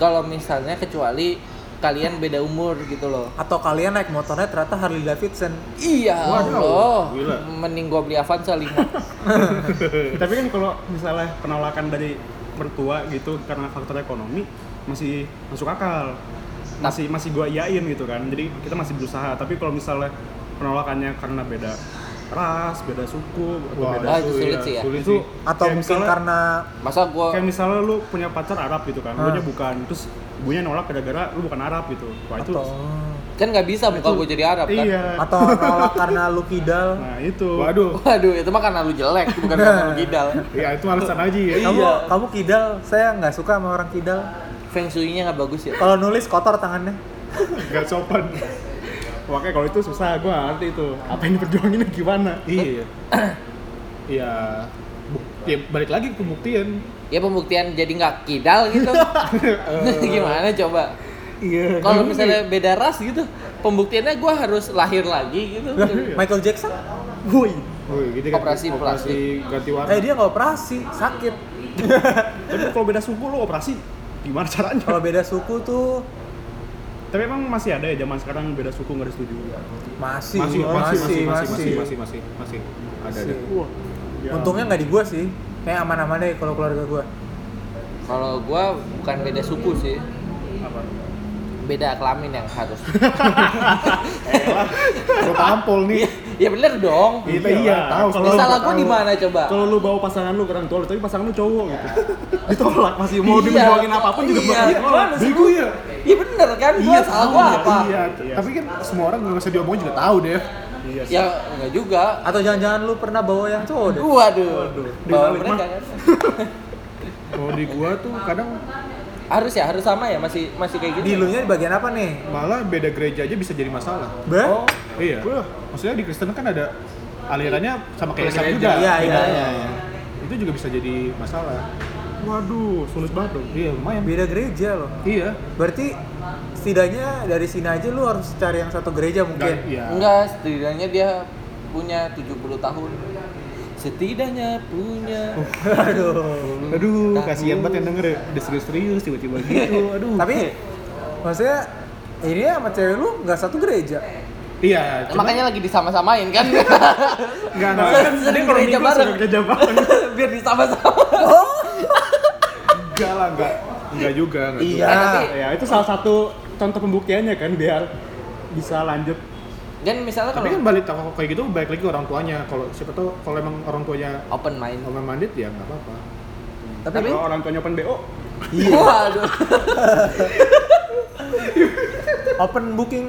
S2: Kalau misalnya kecuali kalian beda umur gitu loh.
S1: atau kalian naik motornya ternyata Harley Davidson
S2: Iya
S3: Waduh,
S2: Allah.
S3: gila.
S2: Mending gua beli Avanza 5.
S4: Tapi kan kalau misalnya penolakan dari mertua gitu karena faktor ekonomi masih masuk akal. Masih masih gua iyain gitu kan. Jadi kita masih berusaha. Tapi kalau misalnya penolakannya karena beda ras, beda suku, atau
S3: Wah,
S4: beda
S2: ah, itu sulit
S4: iya,
S2: sih ya.
S4: sulit
S3: Itu
S4: sih.
S1: atau
S3: Iya,
S4: Kayak
S1: mungkin
S4: misalnya-
S1: karena
S2: Masa gua
S4: kayak misalnya lu punya pacar Arab gitu kan, lu nya
S1: Ah.
S4: bukan, terus ibunya nolak gara-gara lu bukan Arab gitu. Wah itu
S1: atau
S2: kan nggak bisa muka gua jadi Arab kan.
S4: Iya.
S1: atau nolak karena lu kidal
S4: Nah, itu.
S3: Waduh.
S2: Waduh, itu mah karena lu jelek, bukan karena
S4: (laughs)
S2: lu gidal.
S4: Iya,
S3: Ya itu alasan aja ya.
S2: Iya.
S1: kamu kamu kidal saya nggak suka sama orang kidal
S2: Feng Shui-nya nggak bagus ya.
S1: kalau nulis kotor tangannya
S3: Gak sopan.
S4: Makanya kalau itu susah, gua nggak ngerti itu. Apa yang diperjuanginnya gimana?
S3: Iya. Iya. Buk- ya, balik lagi ke pembuktian.
S2: Ya pembuktian jadi nggak kidal
S3: (laughs)
S2: gitu. (laughs) Gimana coba?
S3: Iya.
S2: Kalau misalnya beda ras gitu, pembuktiannya gua harus lahir lagi gitu.
S1: Michael Jackson
S4: Woi.
S3: gitu
S4: kan.
S2: Operasi plastik.
S3: ganti warna.
S1: eh dia nggak operasi sakit
S4: Tapi kalau beda suku lu operasi gimana caranya?
S1: kalau beda suku tuh
S4: Tapi emang masih ada ya zaman sekarang beda suku nggak disetujui.
S1: masih
S3: masih, masih, masih, masih, masih, masih,
S1: masih.
S3: masih, masih, ada,
S1: Masih.
S3: ada.
S4: Wah. ya.
S1: untungnya nggak di gua sih kayak aman-aman deh kalau keluarga gua
S2: Kalau gua bukan beda suku sih,
S4: apa?
S2: beda kelamin yang harus.
S3: (laughs) Lo tampol nih.
S2: ya bener dong.
S3: Iya,
S4: Iya,
S3: iya.
S4: tahu.
S3: Kalau
S2: Salah
S3: lu
S2: gua di mana coba?
S4: Kalau lu bawa pasangan lu ke orang tua lu, tapi pasangan lu cowok gitu. Ditolak masih mau
S2: Iya.
S4: diperjuangin apapun juga
S2: Iya,
S4: bakal ditolak.
S2: gimana
S4: Bego ya.
S2: Iya bener kan, gua
S3: Oh,
S2: salah gua apa?
S3: Iya,
S4: Iya.
S3: tapi kan semua orang nggak usah diomongin juga tahu deh.
S4: Iya. sih.
S2: Ya enggak juga.
S1: atau jangan-jangan lu pernah bawa yang cowok deh
S2: Waduh.
S4: Waduh.
S2: Bawa
S4: Di
S2: mereka
S4: Halimah.
S2: kan.
S3: Kalau di gua tuh kadang
S2: Harus ya, harus sama ya, masih masih kayak gitu.
S1: di lu nya di bagian apa nih
S3: malah beda gereja aja bisa jadi masalah.
S1: Bah?
S4: Oh,
S3: Iya.
S4: Wah.
S3: Maksudnya di Kristen kan ada alirannya sama kayak Islam
S2: Gereja.
S3: juga.
S1: Iya, iya,
S3: bedanya.
S1: iya.
S3: Itu juga bisa jadi masalah.
S4: waduh, sulit banget dong.
S3: Iya, lumayan.
S1: beda gereja loh
S3: Iya.
S1: berarti setidaknya dari sini aja lu harus cari yang satu gereja
S3: Nggak,
S1: mungkin
S3: iya.
S2: Enggak, setidaknya dia punya 70 tahun. Setidaknya punya.
S1: (laughs) aduh
S3: Aduh,
S2: Takut.
S3: kasihan banget yang denger ya. Udah serius-serius tiba-tiba gitu. Aduh.
S1: tapi maksudnya ini ya sama cewek lu nggak satu gereja
S3: iya,
S2: Nah,
S3: cuma
S2: makanya lagi disama-samain kan.
S4: Enggak,
S2: Nah,
S4: enggak.
S2: sering
S4: Jadi kalau
S2: gereja
S4: minggu
S2: bareng.
S4: suka kerja bareng.
S2: Biar disama-sama.
S3: enggak lah, enggak. Enggak juga, enggak juga.
S2: Iya.
S4: Ya, itu salah satu contoh pembuktiannya kan biar bisa lanjut
S2: Dan misalnya
S3: Tapi kan
S2: kalau
S3: balik kalau kayak gitu balik lagi ke orang tuanya. Kalau siapa tahu kalau emang orang tuanya
S2: open mind.
S3: open minded ya nggak apa-apa.
S1: Tapi,
S2: Tapi-
S4: Kalau orang tuanya open BO,
S2: (laughs)
S1: Iya.
S2: Waduh.
S1: open booking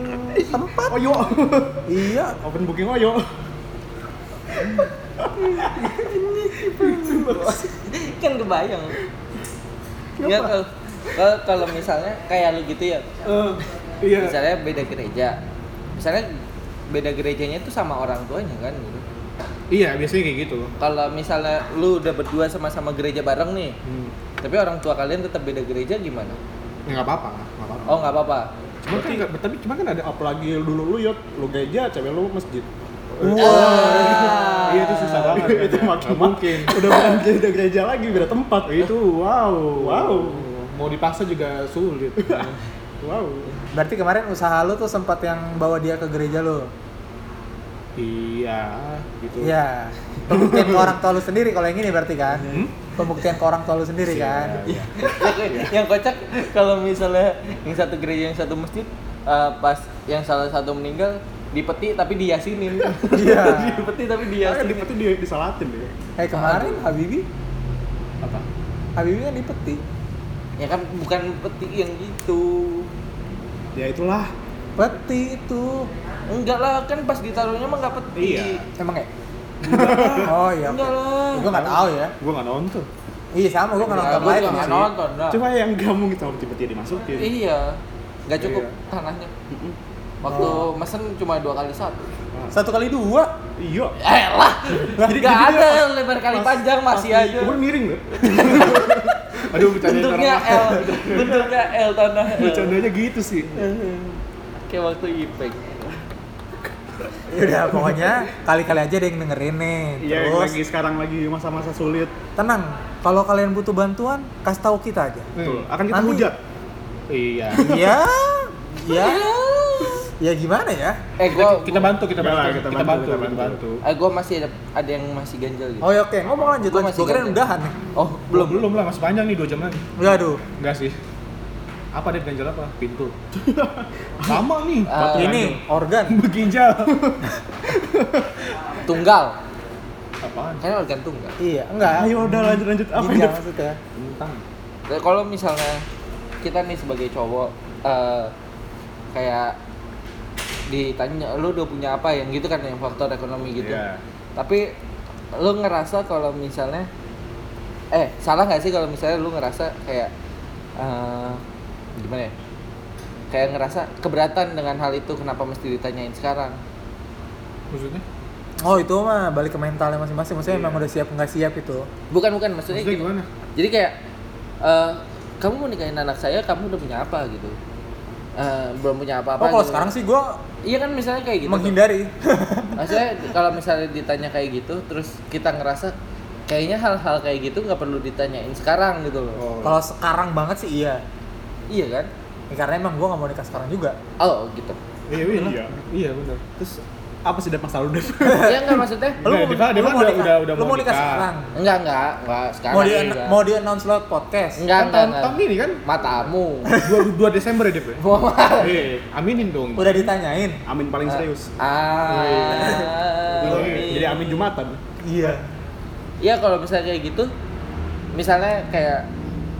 S1: tempat.
S3: Oyo. (laughs)
S1: Iya,
S3: open booking oyo.
S2: kan kebayang. Enggak kalau kalau- kalau misalnya kayak lu gitu ya,
S3: Eh, iya.
S2: misalnya beda gereja misalnya beda gerejanya itu sama orang tuanya kan gitu
S3: Iya, biasanya kayak gitu.
S2: kalau misalnya lu udah berdua sama-sama gereja bareng nih
S3: Hmm.
S2: tapi orang tua kalian tetap beda gereja gimana
S3: Ya nggak apa-apa, nggak apa-apa.
S2: oh nggak apa-apa (laughs)
S3: Cuma kan nggak- tapi cuma kan ada
S4: apalagi dulu lu yot, lu gereja, cewek lu masjid.
S2: Ah.
S3: Iya itu susah banget.
S4: (laughs) itu
S3: kayaknya.
S4: makin
S3: Nggak mungkin.
S4: Udah bukan gereja gereja lagi, beda tempat. Itu wow, wow,
S3: Mau dipaksa juga sulit.
S4: (laughs) wow.
S1: berarti kemarin usaha lu tuh sempat yang bawa dia ke gereja lu.
S3: iya, gitu.
S1: Iya. Pembuktian ke orang tua lu sendiri kalau yang ini berarti kan.
S2: Hmm?
S1: Pembuktian ke orang tua lu sendiri kan.
S3: Iya, iya.
S2: yang kocak kalau misalnya yang satu gereja yang satu masjid eh, pas yang salah satu meninggal dipeti tapi diyasinin
S1: Iya.
S2: (laughs) dipeti tapi
S4: Ya, di
S2: diyasinin
S4: itu di- disalatin deh.
S1: Eh kemarin Habibi,
S3: Apa?
S1: Habibi kan dipeti.
S2: ya kan bukan peti yang gitu
S4: Ya itulah.
S1: Peti itu.
S2: enggak lah kan pas ditaruhnya mah nggak peti
S3: Iya.
S1: Emang ya? Oh iya.
S2: enggak lah
S1: Gue nggak tahu ya.
S3: Gua nggak nonton.
S1: Iya sama gue nggak
S2: Ya,
S1: nonton
S2: gua
S1: live
S2: juga
S1: ya.
S2: nggak nonton dah.
S4: Cuma yang gak mungkin sama tiba-tiba dimasukin.
S2: Iya, nggak cukup
S4: Iya.
S2: tanahnya. Waktu
S1: Oh.
S2: mesen cuma dua kali satu.
S1: ya. Satu kali dua.
S4: Iya.
S2: Eh lah,
S4: Jadi
S3: gitu
S2: nggak
S4: gini
S2: ada
S4: ya,
S2: lebar kali
S4: pas-
S2: panjang masih
S4: pas di-
S2: aja.
S4: Umur miring
S2: (laughs)
S4: loh.
S3: Aduh, kan bercanda
S2: Bentuknya L, bentuknya L tanah. L.
S4: Bercandanya gitu sih.
S2: Kayak waktu ipek.
S1: Ya udah pokoknya kali-kali aja ada yang dengerin nih.
S4: Iya, yang
S1: Terus
S2: gitu.
S4: lagi sekarang lagi masa-masa sulit.
S1: tenang. Kalau kalian butuh bantuan, kasih tahu kita
S3: Hmm.
S1: aja.
S4: Betul. Akan kita
S1: Nanti-
S4: hujat.
S3: Iya.
S1: Iya.
S2: Oh,
S1: Iya. Ya gimana ya?
S2: Eh gua,
S3: Kita bantu, kita
S4: Iya
S3: bantu,
S4: lah,
S3: kita, bantu, gitu.
S4: kita
S3: kita
S4: bantu,
S3: bantu,
S4: kita bantu.
S2: eh gua masih ada, ada yang masih ganjel gitu.
S1: Oh ya oke, ngomong lanjut
S2: Gua
S1: lanjut.
S2: masih
S1: Gue kira
S2: ganjel.
S1: udahan nih.
S2: Oh
S3: Belum,
S2: belum.
S3: belum lah, masih panjang nih 2 jam lagi.
S1: Ya aduh.
S3: Enggak sih. Apa deh ganjel apa? Pintu. (laughs) Sama nih.
S2: Ah,
S1: Eh,
S3: (laughs)
S1: ini organ.
S3: Beginjal.
S2: tunggal.
S3: Apaan?
S2: Kan organ tunggal.
S1: Iya, enggak.
S4: Ayo udah lanjut lanjut apa
S1: Ginjal
S4: ini?
S1: maksudnya.
S3: Tentang.
S2: Nah, kalau misalnya kita nih sebagai cowok eh, kayak ditanya lu udah punya apa yang gitu kan yang faktor ekonomi gitu.
S3: Iya.
S2: Tapi lu ngerasa kalau misalnya eh salah nggak sih kalau misalnya lu ngerasa kayak eh, gimana ya? Kayak ngerasa keberatan dengan hal itu kenapa mesti ditanyain sekarang?
S3: Maksudnya?
S1: Oh itu mah balik ke mentalnya masing-masing. Maksudnya memang udah siap nggak siap itu.
S2: Bukan bukan
S3: Maksudnya
S2: maksudnya, gini.
S3: gimana?
S2: Jadi kayak eh, kamu mau nikahin anak saya, kamu udah punya apa gitu? Eh, belum punya apa-apa.
S1: Oh kalau
S2: gitu.
S1: sekarang sih gue
S2: Iya kan misalnya kayak gitu. tuh.
S1: menghindari.
S2: Maksudnya kalau misalnya ditanya kayak gitu, terus kita ngerasa kayaknya hal-hal kayak gitu nggak perlu ditanyain sekarang gitu loh.
S3: Oh.
S1: (laughs) kalau sekarang banget sih iya.
S2: Iya kan?
S1: Ya, karena emang gue nggak mau nikah sekarang juga.
S2: Oh
S1: (laughs)
S2: gitu.
S3: Iya, iya. lah.
S4: Iya.
S3: Iya, benar.
S4: Terus apa sih dapat selalu deh?
S2: Iya nggak maksudnya?
S1: Lu
S3: Udah,
S1: mau,
S3: Diva- Diva
S1: lu mau
S3: udah-
S1: nikah,
S3: udah- udah
S1: lu
S3: mau
S1: mau nikah
S3: nikah.
S1: sekarang.
S2: Enggak enggak enggak sekarang.
S1: Mau di
S2: enggak.
S1: mau di announce lewat podcast.
S2: enggak
S3: Kan
S2: enggak.
S3: tahun,
S2: enggak.
S3: tahun ini kan
S1: (laughs)
S2: Matamu.
S3: 22 Desember ya, Dep? ya?
S4: (laughs) Iya.
S3: Aminin dong.
S1: Udah Eh, ditanyain.
S4: Amin paling serius.
S2: ah.
S1: eh,
S4: Jadi jadi amin jumatan.
S1: Iya.
S2: Iya kalau misalnya kayak gitu, misalnya kayak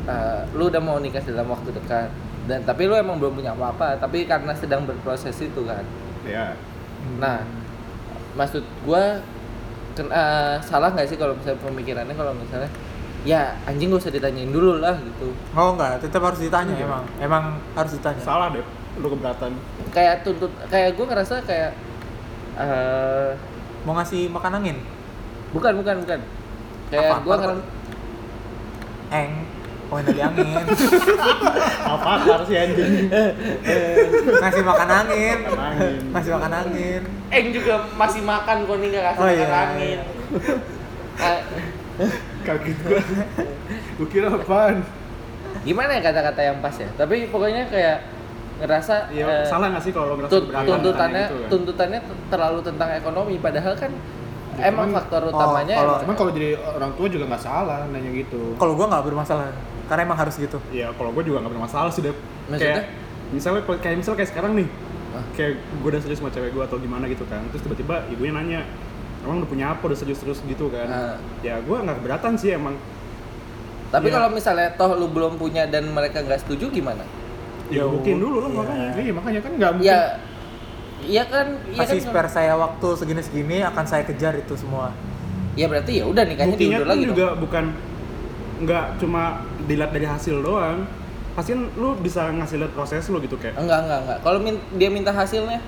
S2: eh, lu udah mau nikah dalam waktu dekat dan tapi lu emang belum punya apa-apa, tapi karena sedang berproses itu kan.
S4: Ya.
S2: Nah, maksud gua ken- eh, salah nggak sih kalau misalnya pemikirannya kalau misalnya ya anjing gak usah ditanyain dulu lah gitu.
S1: Oh enggak, tetap harus ditanya emang. Iya. Emang harus ditanya.
S4: Salah deh. Lu keberatan.
S2: Kayak tuntut kayak gua ngerasa kayak eh
S1: Mau ngasih makan angin?
S2: bukan bukan bukan. Kayak
S1: Apa?
S2: gua
S4: kan?
S1: Apa?
S2: ngerasa
S1: Eng. Poin dari
S4: (laughs)
S1: angin.
S4: Apa harus ya anjing?
S1: ngasih Eh, makan angin.
S4: Angin.
S1: Ngasih makan angin.
S2: Eng juga masih makan kok nih nggak kasih
S1: Oh,
S2: makan
S1: iya,
S2: angin.
S1: iya.
S2: Eh,
S4: Kaget gua.
S3: Gue kira apaan?
S2: gimana ya kata-kata yang pas ya tapi pokoknya kayak ngerasa eh,
S4: Iya, salah nggak sih kalau lo ngerasa
S2: tun-
S4: keberatan
S3: ya.
S2: tuntutannya
S4: gitu kan?
S2: tuntutannya t- terlalu tentang ekonomi padahal kan emang
S3: cuman-
S2: faktor
S1: oh,
S2: utamanya
S1: kalau-
S2: emang-
S3: Cuman kalau jadi orang tua juga nggak salah nanya gitu.
S1: Kalau gua nggak bermasalah. Karena emang harus gitu.
S4: Iya, kalau gue juga nggak bermasalah sih, Dep.
S2: Maksudnya? Ah.
S4: Kayak, misalnya kayak misalnya kayak sekarang nih,
S3: Hah?
S4: kayak gue udah serius sama cewek gue atau gimana gitu kan terus tiba-tiba ibunya nanya emang udah punya apa udah serius terus gitu kan
S2: Ah.
S4: ya gue nggak keberatan sih emang
S2: Tapi
S4: Iya.
S2: kalau misalnya toh lu belum punya dan mereka nggak setuju gimana?
S4: ya buktiin dulu lah
S1: Iya.
S4: makanya
S3: Iya makanya kan nggak mungkin.
S2: Ya, iya kan, iya kan.
S1: kasih spare saya waktu segini-segini akan saya kejar itu semua
S2: Ya berarti ya udah nikahnya
S4: buktinya
S2: diundur
S4: kan
S2: lagi
S4: juga
S2: dong.
S4: bukan nggak cuma dilihat dari hasil doang pasti kan lu bisa ngasih lihat proses lu gitu kayak
S2: Enggak enggak enggak. Kalau min- dia minta hasilnya,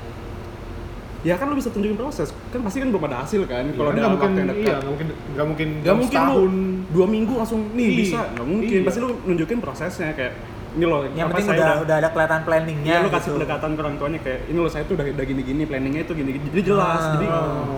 S4: ya kan lu bisa tunjukin proses kan pasti kan belum ada hasil kan
S3: Iya,
S4: kalau
S3: kan
S4: dalam
S3: nggak
S4: waktu
S3: mungkin,
S4: yang
S3: iya
S4: dekat
S3: nggak mungkin, nggak mungkin,
S4: Gak mungkin lu
S3: setahun.
S4: dua minggu langsung nih
S3: Iya.
S4: bisa nggak mungkin
S3: Iya.
S4: pasti lu nunjukin prosesnya kayak ini loh
S1: yang
S4: apa
S1: penting
S4: saya
S1: udah, udah ada kelihatan planningnya
S4: Ya, lu kasih
S1: gitu.
S4: pendekatan ke orang tuanya kayak ini loh saya tuh udah, udah gini-gini planningnya itu gini-gini jadi jelas
S1: Ah.
S4: jadi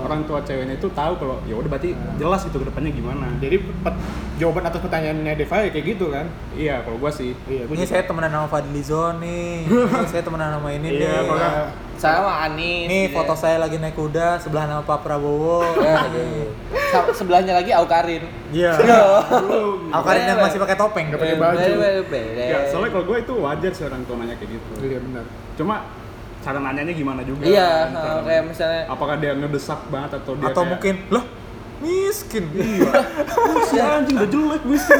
S4: orang tua ceweknya itu tahu kalau ya udah berarti jelas gitu kedepannya gimana
S3: Jadi pet- jawaban atas pertanyaannya Deva ya kayak gitu kan?
S4: iya kalau gua sih
S3: Iya, gua
S1: ini
S3: juga-
S1: saya temenan sama Fadli Zon nih ini saya temenan sama ini
S4: Iya,
S1: nih
S4: kalau-
S2: sama Anis.
S1: ini
S2: gitu
S1: foto
S2: ya.
S1: saya lagi naik kuda sebelah sama Pak Prabowo
S2: Eh, aduh. Sa- sebelahnya lagi Aukarin.
S1: iya
S4: Belum.
S1: aku kan yang masih pakai
S4: Iya,
S1: topeng
S3: Nggak pakai baju.
S2: Eh.
S4: Ya, soalnya kalau gue itu wajar sih orang tua nanya kayak gitu.
S3: Iya benar.
S4: Cuma cara nanyanya gimana juga.
S2: Iya,
S4: kan,
S2: nah,
S4: cara-
S2: kayak misalnya
S4: apakah dia ngedesak banget atau dia
S1: atau
S4: kayak, (laughs)
S1: mungkin loh miskin Iya.
S4: "Oh, si anjing udah jelek miskin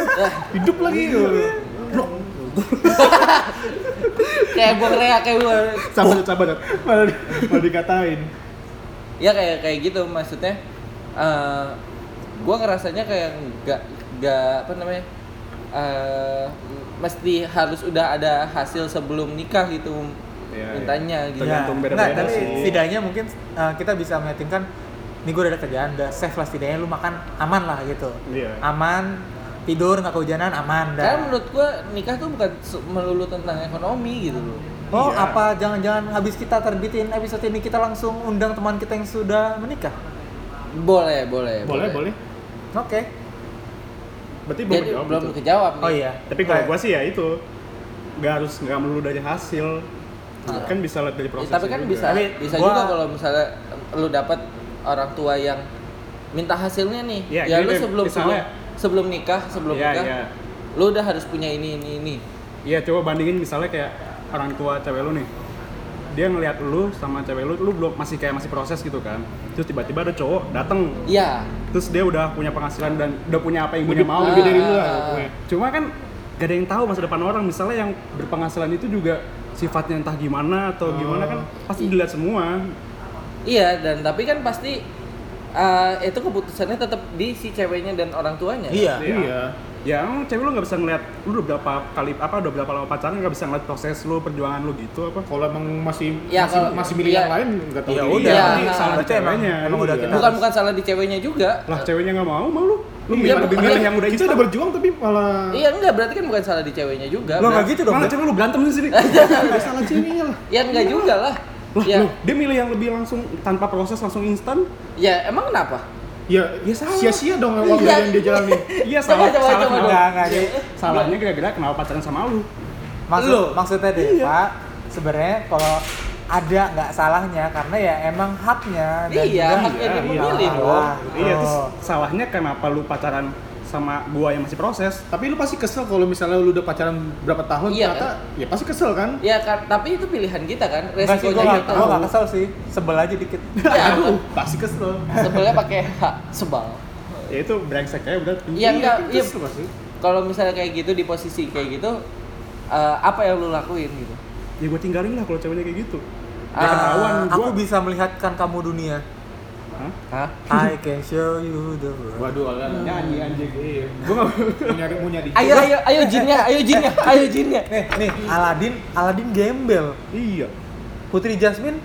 S3: Hidup lagi.
S2: kayak gue rea kayak gue
S3: Sabar, sabar. Malah di- malah dikatain.
S2: ya kayak kayak gitu maksudnya eh gue ngerasanya kayak nggak nggak apa namanya eh mesti harus udah ada hasil sebelum nikah gitu
S4: Iya,
S2: mintanya gitu
S4: Iya. Tergantung beda-beda
S1: Nggak, Nah, tapi
S4: sih.
S1: setidaknya mungkin uh, kita bisa meyakinkan nih gue udah ada kerjaan udah safe lah setidaknya lu makan aman lah gitu
S4: Iya.
S1: aman tidur nggak kehujanan aman dah
S2: karena menurut gue nikah tuh bukan se- melulu tentang ekonomi gitu loh
S1: Oh,
S4: Iya.
S1: apa jangan-jangan habis kita terbitin episode ini kita langsung undang teman kita yang sudah menikah?
S2: boleh boleh
S3: Boleh, boleh.
S1: Oke.
S4: Berarti belum
S2: Iya. jadi
S4: jawab
S2: belum
S4: gitu.
S2: kejawab nih.
S1: Oh iya.
S4: Tapi kalau
S1: Nah,
S4: gue sih ya itu nggak harus nggak melulu dari hasil.
S2: Iya.
S4: Kan bisa lihat dari
S2: Ya,
S4: proses.
S2: tapi kan bisa
S1: Tapi
S2: bisa
S1: gua-
S2: juga kalau misalnya lu dapat orang tua yang minta hasilnya nih.
S4: Iya,
S2: ya
S4: gini
S2: lu
S4: deh,
S2: sebelum sebelum
S4: misalnya-
S2: sebelum nikah, sebelum
S4: Iya,
S2: nikah.
S4: iya.
S2: Lu udah harus punya ini ini ini.
S4: Iya, coba bandingin misalnya kayak orang tua cewek lu nih. Dia ngelihat lu sama cewek lu, lu belum masih kayak masih proses gitu kan. Terus tiba-tiba ada cowok datang
S2: Iya.
S4: terus dia udah punya penghasilan dan udah punya apa yang punya
S3: Lebih
S4: mau
S3: lebih dari
S4: gitu.
S3: lu lah.
S2: Ah.
S3: pokoknya.
S4: cuma kan gak ada yang tahu masa depan orang misalnya yang berpenghasilan itu juga sifatnya entah gimana
S3: Oh.
S4: atau gimana kan pasti dilihat semua
S2: Iya, dan tapi kan pasti eh, itu keputusannya tetap di si ceweknya dan orang tuanya.
S1: Iya.
S3: Iya.
S4: ya emang cewek lu nggak bisa ngeliat lu udah berapa kali apa udah berapa lama pacaran nggak bisa ngeliat proses lu perjuangan lu gitu apa
S3: Kalau emang masih
S2: Ya,
S3: masih,
S2: kalau-
S3: masih milih
S2: ya.
S3: yang lain nggak tahu.
S1: Ya
S3: diri.
S1: udah.
S2: Iya.
S1: berarti
S2: Nah,
S1: salah
S4: berarti
S1: emang,
S4: ceweknya.
S1: emang udah
S3: Iya.
S1: kita.
S2: Bukan bukan salah di ceweknya juga. Eh,
S4: lah ceweknya nggak mau malu lu
S3: Iya,
S4: milih-
S2: bukan-
S4: milih
S2: iya.
S4: yang udah
S3: Kita udah berjuang tapi malah
S2: Iya enggak, berarti kan bukan salah di ceweknya juga.
S1: Lo nggak
S2: Berarti-
S1: gitu dong.
S4: malah
S1: Bang?
S4: cewek lu berantem
S3: (laughs)
S4: sendiri
S3: ada salah ceweknya lah.
S2: Ya enggak juga lah.
S4: Iya. lah
S3: Iya.
S2: ya,
S4: lu, dia milih yang lebih langsung tanpa proses langsung instan
S2: ya emang kenapa?
S3: Ya,
S4: Ya, salah.
S3: sia-sia dong waktu
S2: Iya.
S3: yang dia jalani.
S4: iya
S2: Coba,
S4: salah
S2: coba,
S4: salah
S2: coba
S4: kenapa?
S1: Enggak, enggak.
S2: Iya.
S4: salahnya gara-gara kenapa pacaran sama lu
S1: Maksud,
S2: Lo. Iya.
S1: maksudnya deh, Pak, sebenarnya kalau ada nggak salahnya karena ya emang haknya dan
S2: Iya,
S1: juga
S2: haknya dia
S1: nggak
S2: memilih
S1: salah,
S2: dong.
S1: gitu.
S4: Iya, terus salahnya kenapa lu pacaran sama gua yang masih proses?
S3: Tapi lu pasti kesel kalau misalnya lu udah pacaran berapa tahun
S2: Iya,
S3: ternyata ya pasti kesel kan?
S2: Ya kan, tapi itu pilihan kita kan,
S1: Enggak sih, gue
S2: resikonya
S1: nggak
S2: kita.
S1: gua nggak kesel sih, sebel aja dikit.
S2: Ya,
S3: Aduh, pasti kesel.
S2: sebelnya pakai H, sebal.
S4: Ya itu brengsek aja udah.
S2: Iya enggak,
S3: tapi
S1: gitu
S2: iya.
S3: kesel pasti.
S2: Kalau misalnya kayak gitu di posisi kayak gitu, eh, apa yang lu lakuin gitu?
S4: Ya gua tinggalin lah kalau ceweknya kayak gitu. Ya
S2: Ah,
S4: ketahuan
S1: Ah,
S4: gua.
S1: aku bisa melihatkan kamu dunia.
S4: Hah?
S2: Hah?
S1: I can show you the world.
S3: Waduh, ala
S4: Nyanyi anjing.
S3: Iya.
S4: Gua enggak
S3: Mau nyari mau nyari.
S2: Ayo, ayo, ayo jinnya, ayo jinnya, ayo ya. jinnya.
S1: Nih, nih, Aladin, Aladin gembel.
S4: Iya.
S1: Putri Jasmine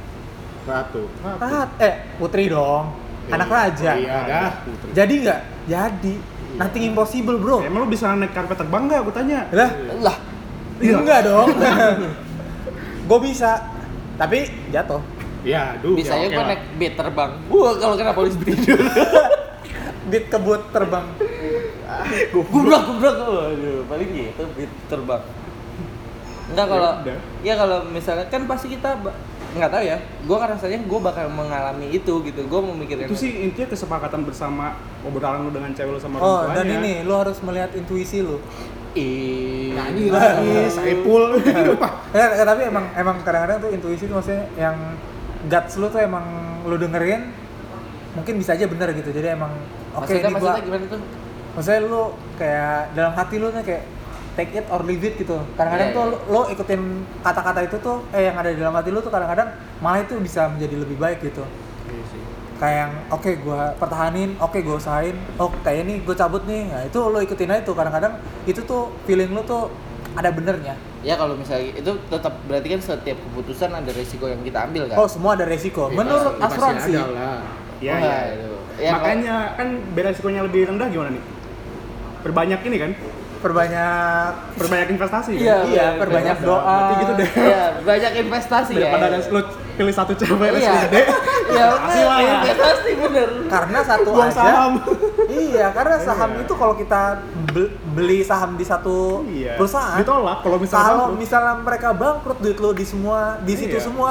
S3: Ratu.
S1: Rat, eh putri dong, anak raja.
S4: Oh,
S3: Iya, dah.
S1: Jadi nggak? Jadi. Nothing impossible bro.
S4: Ya, Emang lu bisa naik karpet terbang enggak gua tanya?
S1: Lah,
S2: Lah,
S1: enggak dong. gue bisa, tapi jatuh.
S3: Iya, aduh.
S2: bisa
S3: ya
S2: ya
S3: oke
S2: gua
S3: lah.
S2: naik B terbang. Wah, kalau kena polisi tidur.
S1: Dit kebut terbang.
S2: Gubrok, gubrok. Waduh, paling gitu B terbang. Enggak kalau
S4: Ya udah.
S2: ya kalau misalnya kan pasti kita ba- nggak tahu ya gue ngerasanya gue bakal mengalami itu gitu gue memikirkan
S4: itu sih intinya kesepakatan bersama obrolan lu dengan cewek lu sama
S1: Oh,
S4: orang
S1: dan
S4: tuanya.
S1: ini lu harus melihat intuisi lu.
S2: Ih.
S3: Lagi Saipul.
S1: Ya, ya, tapi emang emang kadang-kadang tuh intuisi tuh maksudnya yang guts lu tuh emang lu dengerin mungkin bisa aja bener gitu. Jadi emang oke
S2: maksudnya
S1: ini gua
S2: maksudnya gimana tuh
S1: maksudnya lu kayak dalam hati lu tuh kayak take it or leave it gitu. Kadang-kadang
S2: Iya,
S1: tuh lo ikutin kata-kata itu tuh eh yang ada di dalam hati lu tuh kadang-kadang malah itu bisa menjadi lebih baik gitu. Kayak yang oke gua pertahanin, oke gua usahain, oh kayak ini gua cabut nih. Nah, itu lo ikutin aja tuh kadang-kadang itu tuh feeling lu tuh ada benernya.
S2: ya kalau misalnya itu tetap berarti kan setiap keputusan ada resiko yang kita ambil kan
S1: Oh, semua ada resiko. Menurut
S3: Pasti
S1: asuransi.
S3: ada lah.
S4: Iya,
S2: Wah,
S4: iya.
S2: itu. Ya,
S4: Makanya kan beda risikonya lebih rendah gimana nih? Perbanyak ini kan?
S1: Perbanyak
S4: Perbanyak investasi kan?
S2: Iya,
S1: iya, perbanyak
S4: iya.
S1: doa.
S4: Berarti gitu deh.
S2: kalau- ya banyak investasi ya
S4: Daripada ada- lu pilih satu cewek lu
S2: iya (laughs)
S4: gede,
S2: iya
S4: Investasi lah.
S2: bener, investasi bener
S1: Karena satu
S4: buang
S1: aja.
S4: saham.
S1: Iya, karena saham
S4: Iya.
S1: itu kalau kita be- beli saham di satu
S4: Iya.
S1: perusahaan
S4: Ditolak kalau misalnya
S1: kalau
S4: bangkrut.
S1: misalnya mereka bangkrut duit lo di semua di situ
S4: Iya.
S1: semua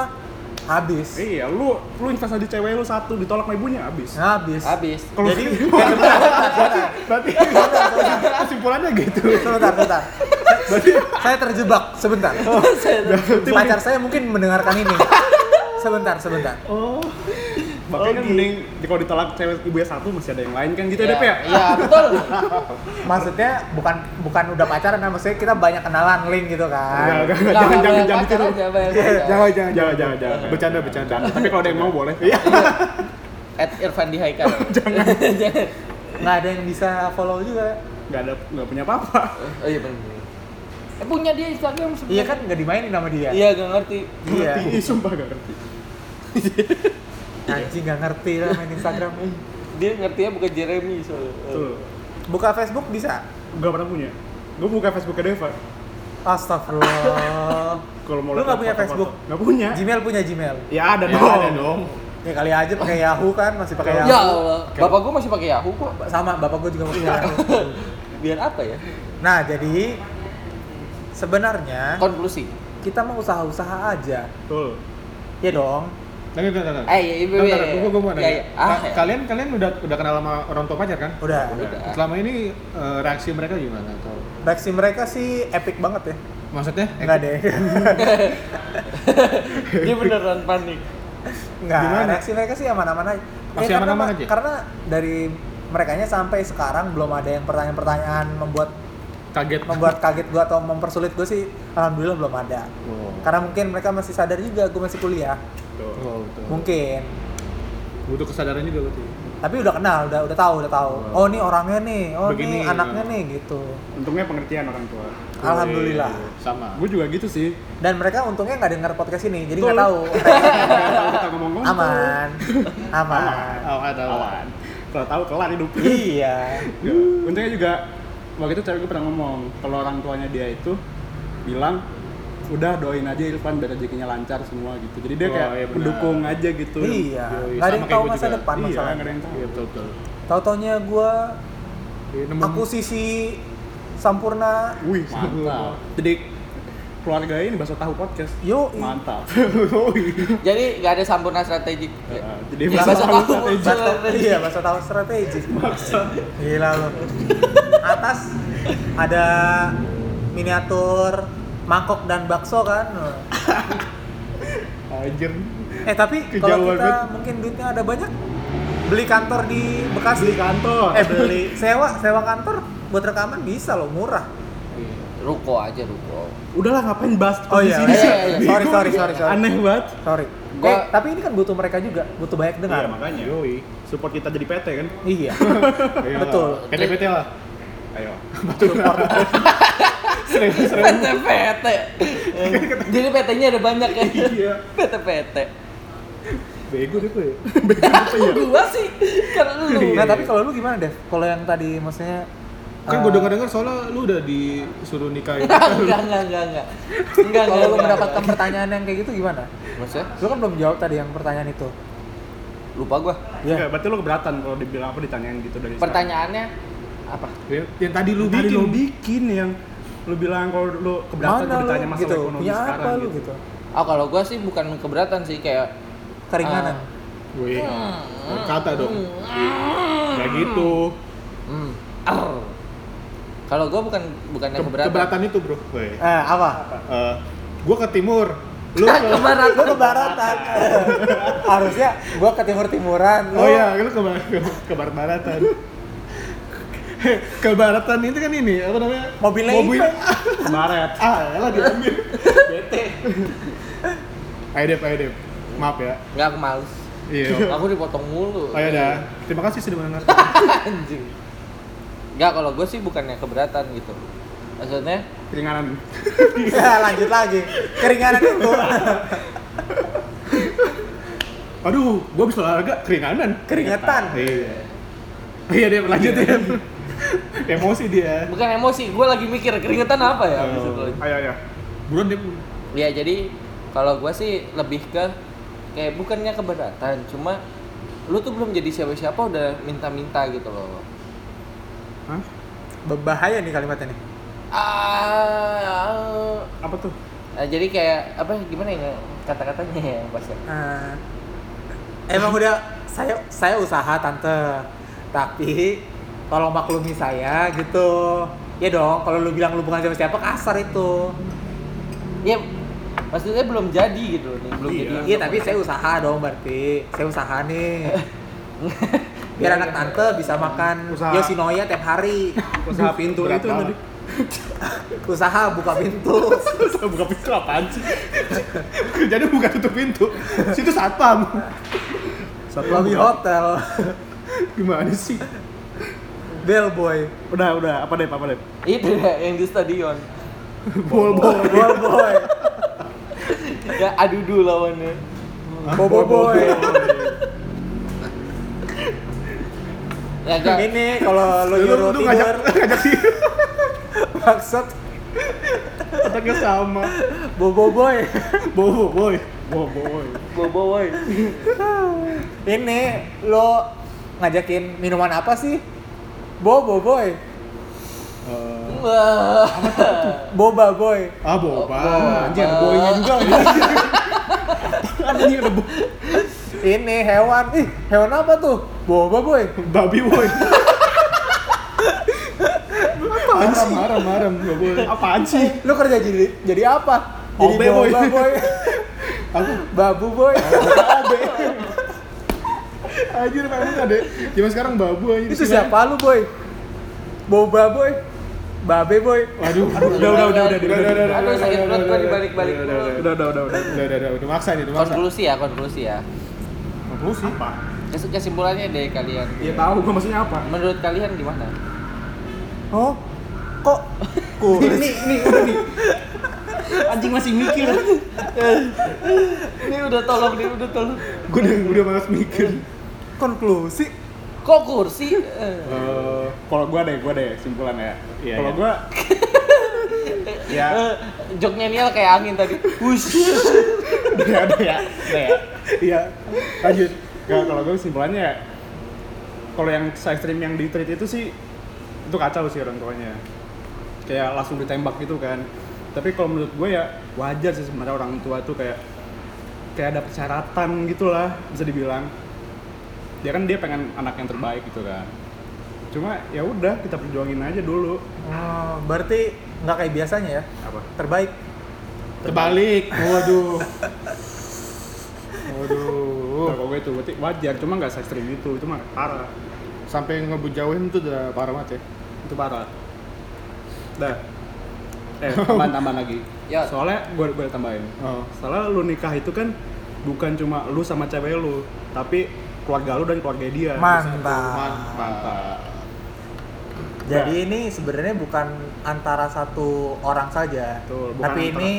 S1: habis.
S4: Iya, lu lu investasi cewek lu satu ditolak sama ibunya habis.
S1: Habis.
S2: habis
S4: Kalau (laughs)
S1: Jadi-
S4: sini gimana? berarti berarti kesimpulannya gitu.
S1: Sebentar, sebentar.
S4: (laughs) Berarti Oh,
S1: Saya terjebak sebentar. Pacar saya mungkin mendengarkan ini. Sebentar, sebentar.
S4: oh. Makanya kan
S1: gitu.
S4: mending kalau ditolak cewek ibunya satu masih ada yang lain kan gitu
S2: Iya,
S4: ya, Dep ya?
S2: iya betul
S1: Maksudnya bukan bukan udah pacaran, nah, maksudnya kita banyak kenalan link gitu
S4: Enggak,
S1: kan.
S4: enggak,
S2: Nggak,
S4: enggak, jangan
S2: nggak bayar
S4: jangan jangan
S2: pacar
S4: gitu.
S2: aja, bayar pacar.
S3: Jangan, jangan,
S4: Jangan, jangan, jangan. Bercanda, bercanda. Tapi kalau ada yang mau boleh. Iya.
S2: at Irfan di Haikal jangan
S1: Nggak ada yang bisa follow juga.
S4: Enggak ada enggak punya apa-apa.
S2: oh iya bener eh punya dia Instagram sebenarnya.
S1: Iya kan nggak dimainin sama dia.
S2: iya gak ngerti
S1: Iya.
S4: Ngerti, ih, sumpah gak ngerti.
S1: Anjing nggak ngerti lah main Instagram.
S2: dia ngertinya bukan Jeremy soalnya
S4: Tuh.
S1: Buka Facebook bisa.
S4: Gak pernah punya. Gue buka Facebook ke Deva.
S1: Astagfirullah.
S4: Kalau mau
S1: Lu nggak punya Facebook?
S4: Gak punya.
S1: Gmail punya Gmail.
S4: Ya ada
S3: Ya,
S4: dong.
S3: ada dong.
S1: Ya kali aja pakai Yahoo kan, masih pakai
S2: ya
S1: Yahoo.
S2: Allah bapak gue masih pakai Yahoo kok
S1: Sama, bapak gue juga
S3: Ya.
S1: masih Yahoo.
S2: biar apa ya
S1: Nah, jadi sebenarnya
S2: konklusi
S1: kita mau usaha-usaha aja.
S4: Betul.
S1: Ya dong.
S3: Tapi bentar, bentar.
S2: eh iya iya
S3: Bentar, bentar. Gua- gua mau
S2: iya,
S3: nanya.
S2: iya. Ah,
S3: Ka-
S2: iya.
S3: Kalian kalian udah udah kenal sama orang tua pacar kan?
S1: Udah.
S2: Udah.
S3: Selama ini eh, reaksi mereka gimana atau
S1: Reaksi mereka sih epic banget ya.
S3: maksudnya?
S1: Enggak deh.
S2: dia beneran panik
S1: (laughs) Enggak.
S3: Gimana?
S1: Reaksi mereka sih aman-aman aja. Ya,
S3: Masih
S1: karena
S3: aman-aman
S1: ma-
S3: aja?
S1: Karena dari merekanya sampai sekarang belum ada yang pertanyaan-pertanyaan membuat
S3: Kaget.
S1: membuat kaget gue atau mempersulit gue sih alhamdulillah belum ada
S3: Wow.
S1: karena mungkin mereka masih sadar juga gue masih kuliah
S3: Wow,
S4: Betul.
S3: Oh,
S1: Oh,
S3: betul.
S1: mungkin
S3: Butuh kesadaran juga berarti.
S1: tapi udah kenal udah udah tahu udah tahu oh ini orangnya nih oh ini
S4: Begini.
S1: anaknya nih gitu
S4: Untungnya pengertian orang tua.
S1: alhamdulillah
S3: Sama.
S4: Gue juga gitu sih.
S1: dan mereka untungnya nggak dengar podcast ini jadi nggak
S4: Betul.
S1: tahu (laughs)
S4: Kalau tahu kita ngomong ngomong.
S1: aman aman
S3: Oh, ada
S4: Awan. Kalau tahu kelar hidup.
S1: iya
S4: Ya. Untungnya juga waktu itu cewek gue pernah ngomong kalau orang tuanya dia itu bilang udah doain aja Irfan biar rezekinya lancar semua gitu. Jadi dia
S3: Wah,
S4: kayak
S3: iya benar.
S4: mendukung aja gitu.
S1: iya
S3: Yoi,
S1: nggak ada
S3: sama
S1: yang
S3: kayak
S1: tahu
S3: gua
S1: masa
S3: juga.
S1: depan
S4: Iya, nggak ada
S1: masalahnya
S4: yang tahu.
S3: Iya, betul betul.
S1: tahu taunya gue
S3: Iya, nemu-
S1: akuisisi sempurna
S4: Wih,
S3: Mantap.
S4: mantap. Jadi keluarga ini bakso tahu podcast.
S1: Yoi.
S4: Mantap.
S2: jadi gak ada sampurna strategik
S4: Nah, Jadi
S2: Iya,
S4: bakso
S2: bakso
S4: tahu
S2: tahu.
S4: strategi.
S1: Bahasa- iya bahasa tahu strategi gila lo atas ada miniatur mangkok dan bakso kan
S4: Anjir.
S1: eh tapi kalau
S4: Kejauhan
S1: kita
S4: banget.
S1: mungkin duitnya ada banyak beli kantor di Bekasi
S4: Beli kantor.
S1: eh
S3: (laughs)
S1: beli sewa sewa kantor buat rekaman bisa loh murah
S3: Iya.
S2: Ya, ruko aja ruko
S4: Udahlah ngapain bahas
S1: Oh, iya,
S4: kondisi ini?
S2: iya, iya.
S1: Sorry,
S4: Bingung.
S1: sorry, sorry, sorry.
S4: Aneh banget.
S1: sorry eh,
S2: Gua-
S1: tapi ini kan butuh mereka juga butuh banyak dengar
S4: Iya, makanya. Support kita jadi PT kan. (laughs)
S1: iya
S3: Iya.
S1: Betul.
S3: PT-PT lah.
S4: Ayo.
S3: (laughs)
S1: (laughs)
S2: PT PT jadi PT-nya ada banyak ya
S4: Iya.
S2: PT PT
S3: Bego deh gue. iya?
S2: gua sih kalau
S4: Iya,
S2: lu
S1: nah tapi kalau lu gimana Dev kalau yang tadi maksudnya
S3: Kan
S1: eh,
S3: gue dengar-dengar soalnya lu udah disuruh kan. nikahin.
S2: (laughs) enggak enggak enggak enggak enggak
S1: kalau lu
S2: enggak,
S1: mendapatkan
S2: enggak.
S1: pertanyaan yang kayak gitu gimana
S2: maksudnya
S1: lu kan belum jawab tadi yang pertanyaan itu
S2: lupa gua
S1: ya
S4: Nggak, berarti lo keberatan kalau dibilang apa ditanyain gitu dari sekarang.
S2: pertanyaannya apa
S3: Ya, yang tadi lu
S4: Tadi
S3: bikin.
S4: lo bikin yang lo bilang kalau lo keberatan
S1: mana
S4: kalau
S1: lu
S4: ditanya masalah
S1: gitu
S4: ekonomi
S1: punya
S4: sekarang
S1: apa lu
S4: gitu.
S1: gitu
S2: ah kalau gua sih bukan keberatan sih kayak
S1: keringanan
S2: ah,
S3: Wih,
S2: Hmm.
S3: kata dong. Ya gitu.
S2: hmm, arr. kalau gua bukan bukannya
S3: Ke-
S2: keberatan,
S3: keberatan itu bro. Wih.
S2: Ah.
S1: eh apa
S3: Eh, gua ke timur. Lu ke
S2: keberatan
S1: lu ke
S2: (laughs)
S1: baratan harusnya gua ke timur timuran lu
S3: Oh iya, lu ke, bar- ke, ke (laughs) baratan. ke baratan itu kan ini apa namanya?
S1: Mobilnya
S3: Mobil.
S1: Ipe.
S4: Baret.
S3: ah, elah diambil. Ayo Dep, ayo Dep. Maaf ya.
S2: nggak aku males (laughs)
S3: Iya.
S2: aku dipotong mulu
S3: Ayo dah. Terima kasih sudah mendengar.
S2: anjing nggak kalau gua sih bukannya keberatan gitu maksudnya
S4: Keringanan.
S1: Ya, lanjut lagi keringanan itu
S3: Aduh, gua habis olahraga keringanan.
S1: keringetan
S3: Iya.
S4: Oh
S3: Iya Dep, lanjut Dep. Emosi dia.
S2: bukan emosi gua lagi mikir keringetan apa ya
S3: Oh.
S2: Maksud lu?
S4: Ayo ayo.
S3: Buruan Dep.
S2: ya jadi kalau gua sih lebih ke kayak bukannya keberatan cuma lu tuh belum jadi siapa-siapa udah minta-minta gitu loh
S4: Hah?
S1: bahaya nih kalimatnya nih
S2: ah
S4: Apa tuh?
S2: ah, jadi kayak apa gimana ya kata-katanya ya bahasa
S1: Eh, emang udah saya saya usaha tante tapi tolong maklumi saya gitu ya dong kalau lu bilang lu bukan siapa siapa kasar itu
S2: ya maksudnya belum jadi gitu loh nih belum
S4: Iya.
S2: jadi
S1: iya tapi saya usaha dong berarti saya usaha
S4: (laughs)
S1: nih biar anak tante bisa makan
S4: Usaha.
S1: Yoshinoya tiap hari
S4: Usaha pintu
S3: berat
S4: itu yang
S3: banget.
S4: tadi.
S1: usaha buka pintu
S3: buka pintu apaan sih? (laughs) Jadi buka tutup pintu. Situ satpam.
S1: lobby hotel
S3: Gimana sih?
S1: bellboy
S4: Udah, udah. Apa Dep? Apa Dep?
S2: itu (laughs) ya, yang di stadion
S3: Bol bol.
S1: bellboy
S2: ya aduh dulu lawannya
S1: bobo boy
S2: ya gak
S1: ini kalau lu
S3: Lu,
S1: nyuruh
S3: lu ngajak
S1: (laughs) tidur
S3: ngajak sih.
S1: maksud
S3: Otaknya sama.
S1: bobo boy
S3: Bobo boy.
S4: Wow, boy.
S2: bobo woy
S1: ini lo ngajakin minuman apa sih bobo boy
S3: Eh,
S2: Wah.
S1: boba boy
S3: ah boba.
S2: Boba.
S3: Anjir, ada boynya juga. Anjir, ada bo-
S1: ini hewan ih hewan apa tuh boba boy
S3: (laughs) babi boy. Apaan sih? Marah, marah, marah, boy. Apaan sih?
S1: lo kerja jadi jadi apa jadi
S3: Obe, boy.
S1: boba (laughs) boy
S3: Aku
S1: babu boy
S3: babe. Anjir, memang ada. Gimana sekarang babu aja di
S1: itu
S3: sini.
S1: siapa lu boy boba boy babe boy
S3: Waduh.
S4: Udah, udah, udah, udah,
S3: Udah, udah, udah,
S2: Aduh,
S3: udah,
S2: sakit
S3: udah,
S2: perut
S3: udah,
S2: gua
S3: udah,
S2: dibalik-balik
S3: udah, udah,
S4: Udah, udah, udah, udah.
S3: udah. Udah, udah, udah, udah maksa nih, udah maksa.
S2: konklusi ya konklusi ya
S3: Konklusi. Apa?
S2: Kes- kesimpulannya deh kalian
S4: Ya tahu gua maksudnya apa.
S2: menurut kalian gimana
S1: oh kok
S4: Ini, ini, ini. Anjing masih mikir.
S2: ini udah tolong nih udah tolong
S3: Gue udah, udah malas mikir.
S1: konklusi
S2: kok kursi Eh.
S4: Eh, kalau gua deh, gua deh simpulan ya.
S3: Iya,
S4: kalau
S3: iya.
S1: (laughs)
S4: gua ya
S2: Eh, joknya Niel kayak angin tadi Wush.
S4: udah ada ya, udah ya.
S3: Iya, lanjut.
S4: Nggak, kalau gue simpulannya ya, kalau yang saya stream yang di tweet itu sih itu kacau sih orang tuanya. Kayak langsung ditembak gitu kan. Tapi kalau menurut gue ya wajar sih sebenarnya orang tua tuh kayak kayak ada persyaratan gitulah bisa dibilang. Dia kan dia pengen anak yang terbaik gitu kan. Cuma ya udah kita perjuangin aja dulu.
S1: oh, berarti nggak kayak biasanya ya
S4: Apa?
S1: terbaik
S3: Terbalik. Waduh.
S4: Nah,
S3: Waduh.
S4: kalau gue itu berarti wajar, cuma nggak saya stream itu, itu mah parah.
S3: Sampai ngebujauin tuh udah parah banget ya.
S4: Itu parah. Dah. (laughs) Eh, tambahan tambahan lagi.
S2: Ya.
S4: Soalnya gue gue tambahin.
S3: Oh.
S4: Soalnya lu nikah itu kan bukan cuma lu sama cewek lu, tapi keluarga lu dan keluarga dia.
S1: mantap
S4: Mantap.
S1: Jadi
S4: Iya.
S1: ini sebenarnya bukan antara satu orang saja,
S4: Betul, bukan
S1: tapi
S4: antara-
S1: ini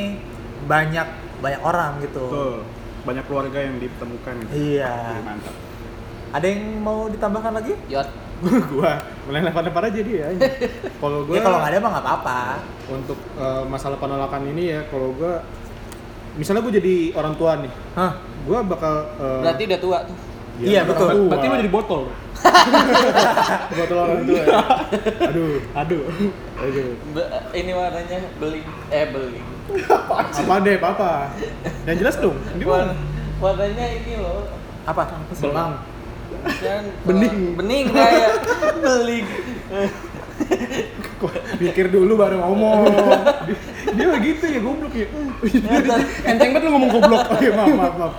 S1: banyak banyak orang gitu.
S4: Betul. Banyak keluarga yang ditemukan gitu.
S1: Iya.
S4: Jadi Mantap.
S1: Ada yang mau ditambahkan lagi?
S2: Yot
S3: (laughs) gua mulai lempar-lempar aja dia. anjing.
S4: (laughs)
S3: Kalau gua
S1: Ya kalau nggak ada mah nggak apa-apa.
S3: untuk eh, masalah penolakan ini ya, kalau gua misalnya gua jadi orang tua nih,
S1: Hah?
S3: gua bakal eh, ya,
S2: berarti udah tua tuh
S1: Iya, betul.
S4: Ber- Berarti
S3: Wah.
S4: lo jadi botol.
S3: botol orang tua ya. Aduh,
S4: Aduh.
S3: aduh.
S2: Be- ini warnanya beling eh beling
S3: Apa deh, apa? Yang jelas dong. Ini
S2: Warna, warnanya ini loh
S1: Apa?
S3: Belang.
S2: kan
S3: Bening.
S2: bening kayak beling
S3: Pikir dulu baru ngomong. Dia, dia begitu ya goblok ya. Enteng banget lu ngomong goblok. Oke, maaf, maaf, maaf.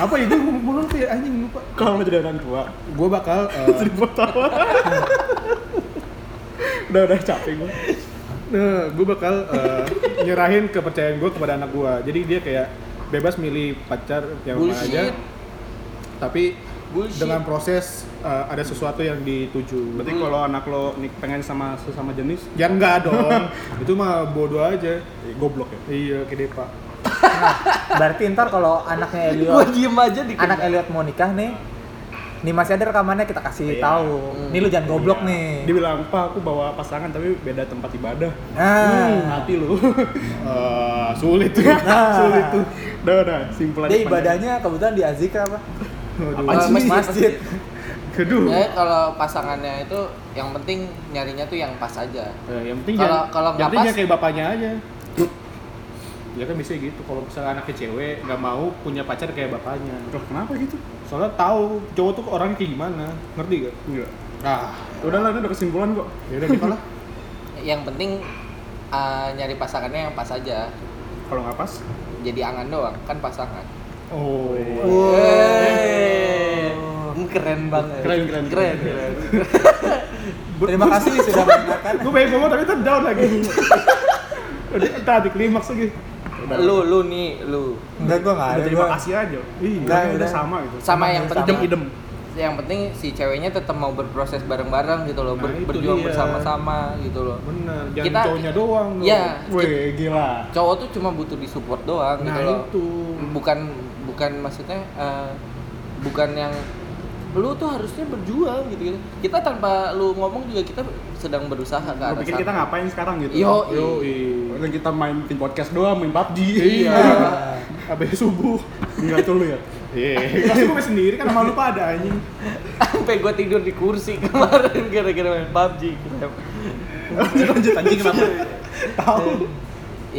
S3: Apa itu ngomong goblok tuh ya anjing lupa.
S4: Kalau lo jadi orang tua,
S3: Gua bakal eh,
S4: jadi botol. udah udah capek gue.
S3: Nah, gue bakal eh, nyerahin kepercayaan gue kepada anak gue. Jadi dia kayak bebas milih pacar yang mana aja.
S2: Bullshit.
S3: Tapi
S2: Bullshit.
S3: dengan proses eh, ada sesuatu yang dituju.
S4: Berarti kalau anak lo nik- pengen sama sesama jenis,
S3: Ya enggak dong. Itu mah bodoh aja.
S4: eh, goblok ya.
S3: Iya, kedepa.
S1: Nah, berarti ntar kalau
S4: (laughs)
S1: anaknya
S2: gua
S1: Elliot,
S2: diem aja di
S1: anak Elliot mau nikah nih, nih masih ada rekamannya kita kasih
S4: Iya.
S1: tahu.
S2: Hmm.
S1: Nih lu jangan goblok
S4: Iya.
S1: nih.
S4: Dia bilang, "Pak, aku bawa pasangan tapi beda tempat ibadah." Hmm,
S1: Nah,
S4: Mati lu.
S3: Eh, sulit tuh.
S4: Sulit tuh. Udah udah, simpel aja.
S1: dia ibadahnya kebetulan di Azika apa?
S3: Aduh.
S2: Eh,
S1: Masjid. Masjid.
S3: Aduh.
S2: Ya, kalau pasangannya itu yang penting nyarinya tuh yang pas aja.
S3: Eh, yang penting
S2: Kalau-
S3: jangan,
S2: kalau
S3: yang
S2: nggak
S3: penting
S2: pas-
S3: jangan kayak bapaknya aja. Ya kan bisa gitu. Kalau misalnya anaknya cewek nggak mau punya pacar kayak bapaknya.
S4: Loh, kenapa gitu?
S3: soalnya tahu cowok tuh orangnya kayak gimana ngerti gak?
S4: Enggak.
S3: ah
S4: Udah lah, ini udah kesimpulan kok.
S3: ya udah kita lah
S2: Yang penting uh, nyari pasangannya yang pas aja.
S4: Kalau nggak pas,
S2: Jadi angan doang kan pasangan.
S3: oh
S1: Wow.
S2: Wey. Hmm, Keren banget.
S3: Keren, keren,
S2: keren.
S1: Terima kasih sudah mendengarkan.
S3: gue pengen ngomong tapi ntar down lagi udah entar di klimaks lagi
S2: Lu lu nih, lu.
S1: Enggak gua enggak ada.
S4: udah terima
S1: Gua.
S4: kasih aja. Iya,
S1: Udah,
S4: udah
S1: udah.
S4: sama gitu.
S2: Sama yang
S1: Sama.
S2: penting
S4: Idem.
S2: yang penting si ceweknya tetap mau berproses bareng-bareng gitu loh, ber-
S3: Nah, itu
S2: berjuang
S3: dia.
S2: bersama-sama gitu loh.
S3: bener jangan
S2: Kita-
S3: cowoknya doang dong.
S2: Iya.
S3: weh gila
S2: Cowok tuh cuma butuh disupport doang
S3: nah
S2: gitu loh.
S3: itu
S2: bukan bukan maksudnya eh, bukan yang lu tuh harusnya berjuang gitu, gitu kita tanpa lu ngomong juga kita sedang berusaha ke
S4: Lo
S2: arah
S4: pikir kita
S2: sana.
S4: ngapain sekarang gitu? Iya.
S2: Yo,
S4: Yo, Orang kita main bikin podcast doang, main PUBG.
S3: iya
S1: Ah.
S3: abis subuh
S4: Enggak itu lu ya.
S3: iya kasih gue sendiri kan sama lu pada anjing
S2: (laughs) sampai gua tidur di kursi (laughs) kemarin gara-gara main PUBG
S4: Lanjut lanjut anjing
S2: (laughs)
S4: kenapa?
S2: Eh,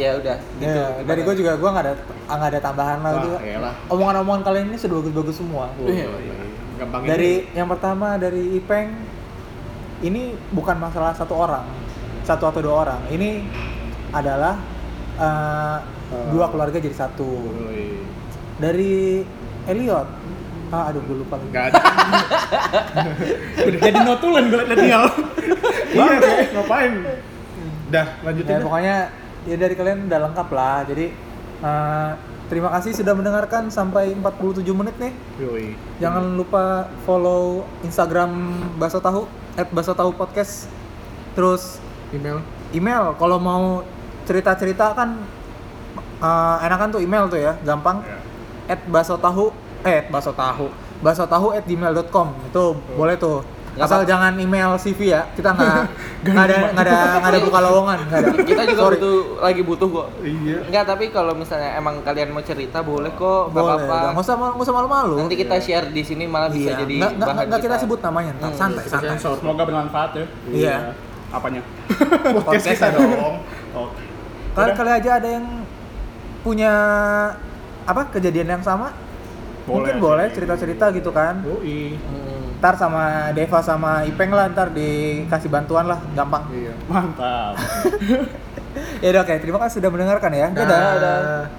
S2: ya udah gitu
S1: Ya, dari gua juga gua enggak ada enggak ada tambahan lah
S3: Wah,
S1: juga.
S3: elah.
S1: Omongan-omongan kalian ini sudah bagus-bagus semua.
S2: Iya.
S3: gampang
S1: Dari yang pertama dari Ipeng ini bukan masalah satu orang, satu atau dua orang. Ini adalah eh,
S3: Oh.
S1: dua keluarga jadi satu.
S3: Hmm.
S1: Dari Elliot, ah, aduh gue lupa lagi.
S3: Gak ada.
S4: Udah jadi notulen gue liat Daniel.
S3: Iya, kayak ngapain? Dah, lanjutin.
S1: Ya,
S3: dah.
S1: pokoknya ya dari kalian udah lengkap lah. Jadi eh, terima kasih sudah mendengarkan sampai 47 menit nih.
S3: Yoi.
S1: Jangan lupa follow Instagram Baso Tahu @basotahu podcast. Terus
S3: Email.
S1: email kalau mau cerita-cerita kan eh, enakan tuh email tuh ya gampang
S3: Iya.
S2: Iya.
S1: at basotahu eh baso tahu basotahu at gmail.com itu boleh tuh
S2: Nggak
S1: asal
S2: apa-
S1: jangan email CV ya kita
S2: (laughs)
S1: nggak nggak ada nggak ada nggak ada buka lowongan nggak ada
S2: kita juga
S1: Sorry.
S2: butuh lagi butuh kok
S3: Iya.
S2: Enggak, tapi kalau misalnya emang kalian mau cerita boleh kok, nggak
S1: boleh
S2: apa-apa.
S1: nggak usah mal- nggak usah malu-malu
S2: Nanti kita share di sini malah bisa
S1: Iya.
S2: jadi
S1: nggak nggak-
S2: bahan
S1: nggak kita sebut namanya ntar
S2: Hmm.
S1: santai santai
S4: Semoga bermanfaat ya.
S1: Iya.
S4: Apanya?
S3: Podcast kita dong.
S4: Oke.
S1: kalian kali aja ada yang punya apa kejadian yang sama mungkin boleh cerita-cerita gitu kan
S3: Yoi.
S2: Hmm.
S1: ntar sama Deva sama Ipeng lah ntar dikasih bantuan lah gampang
S3: Iya.
S4: Mantap.
S1: ya udah oke terima kasih sudah mendengarkan ya dadah,
S2: Dadah.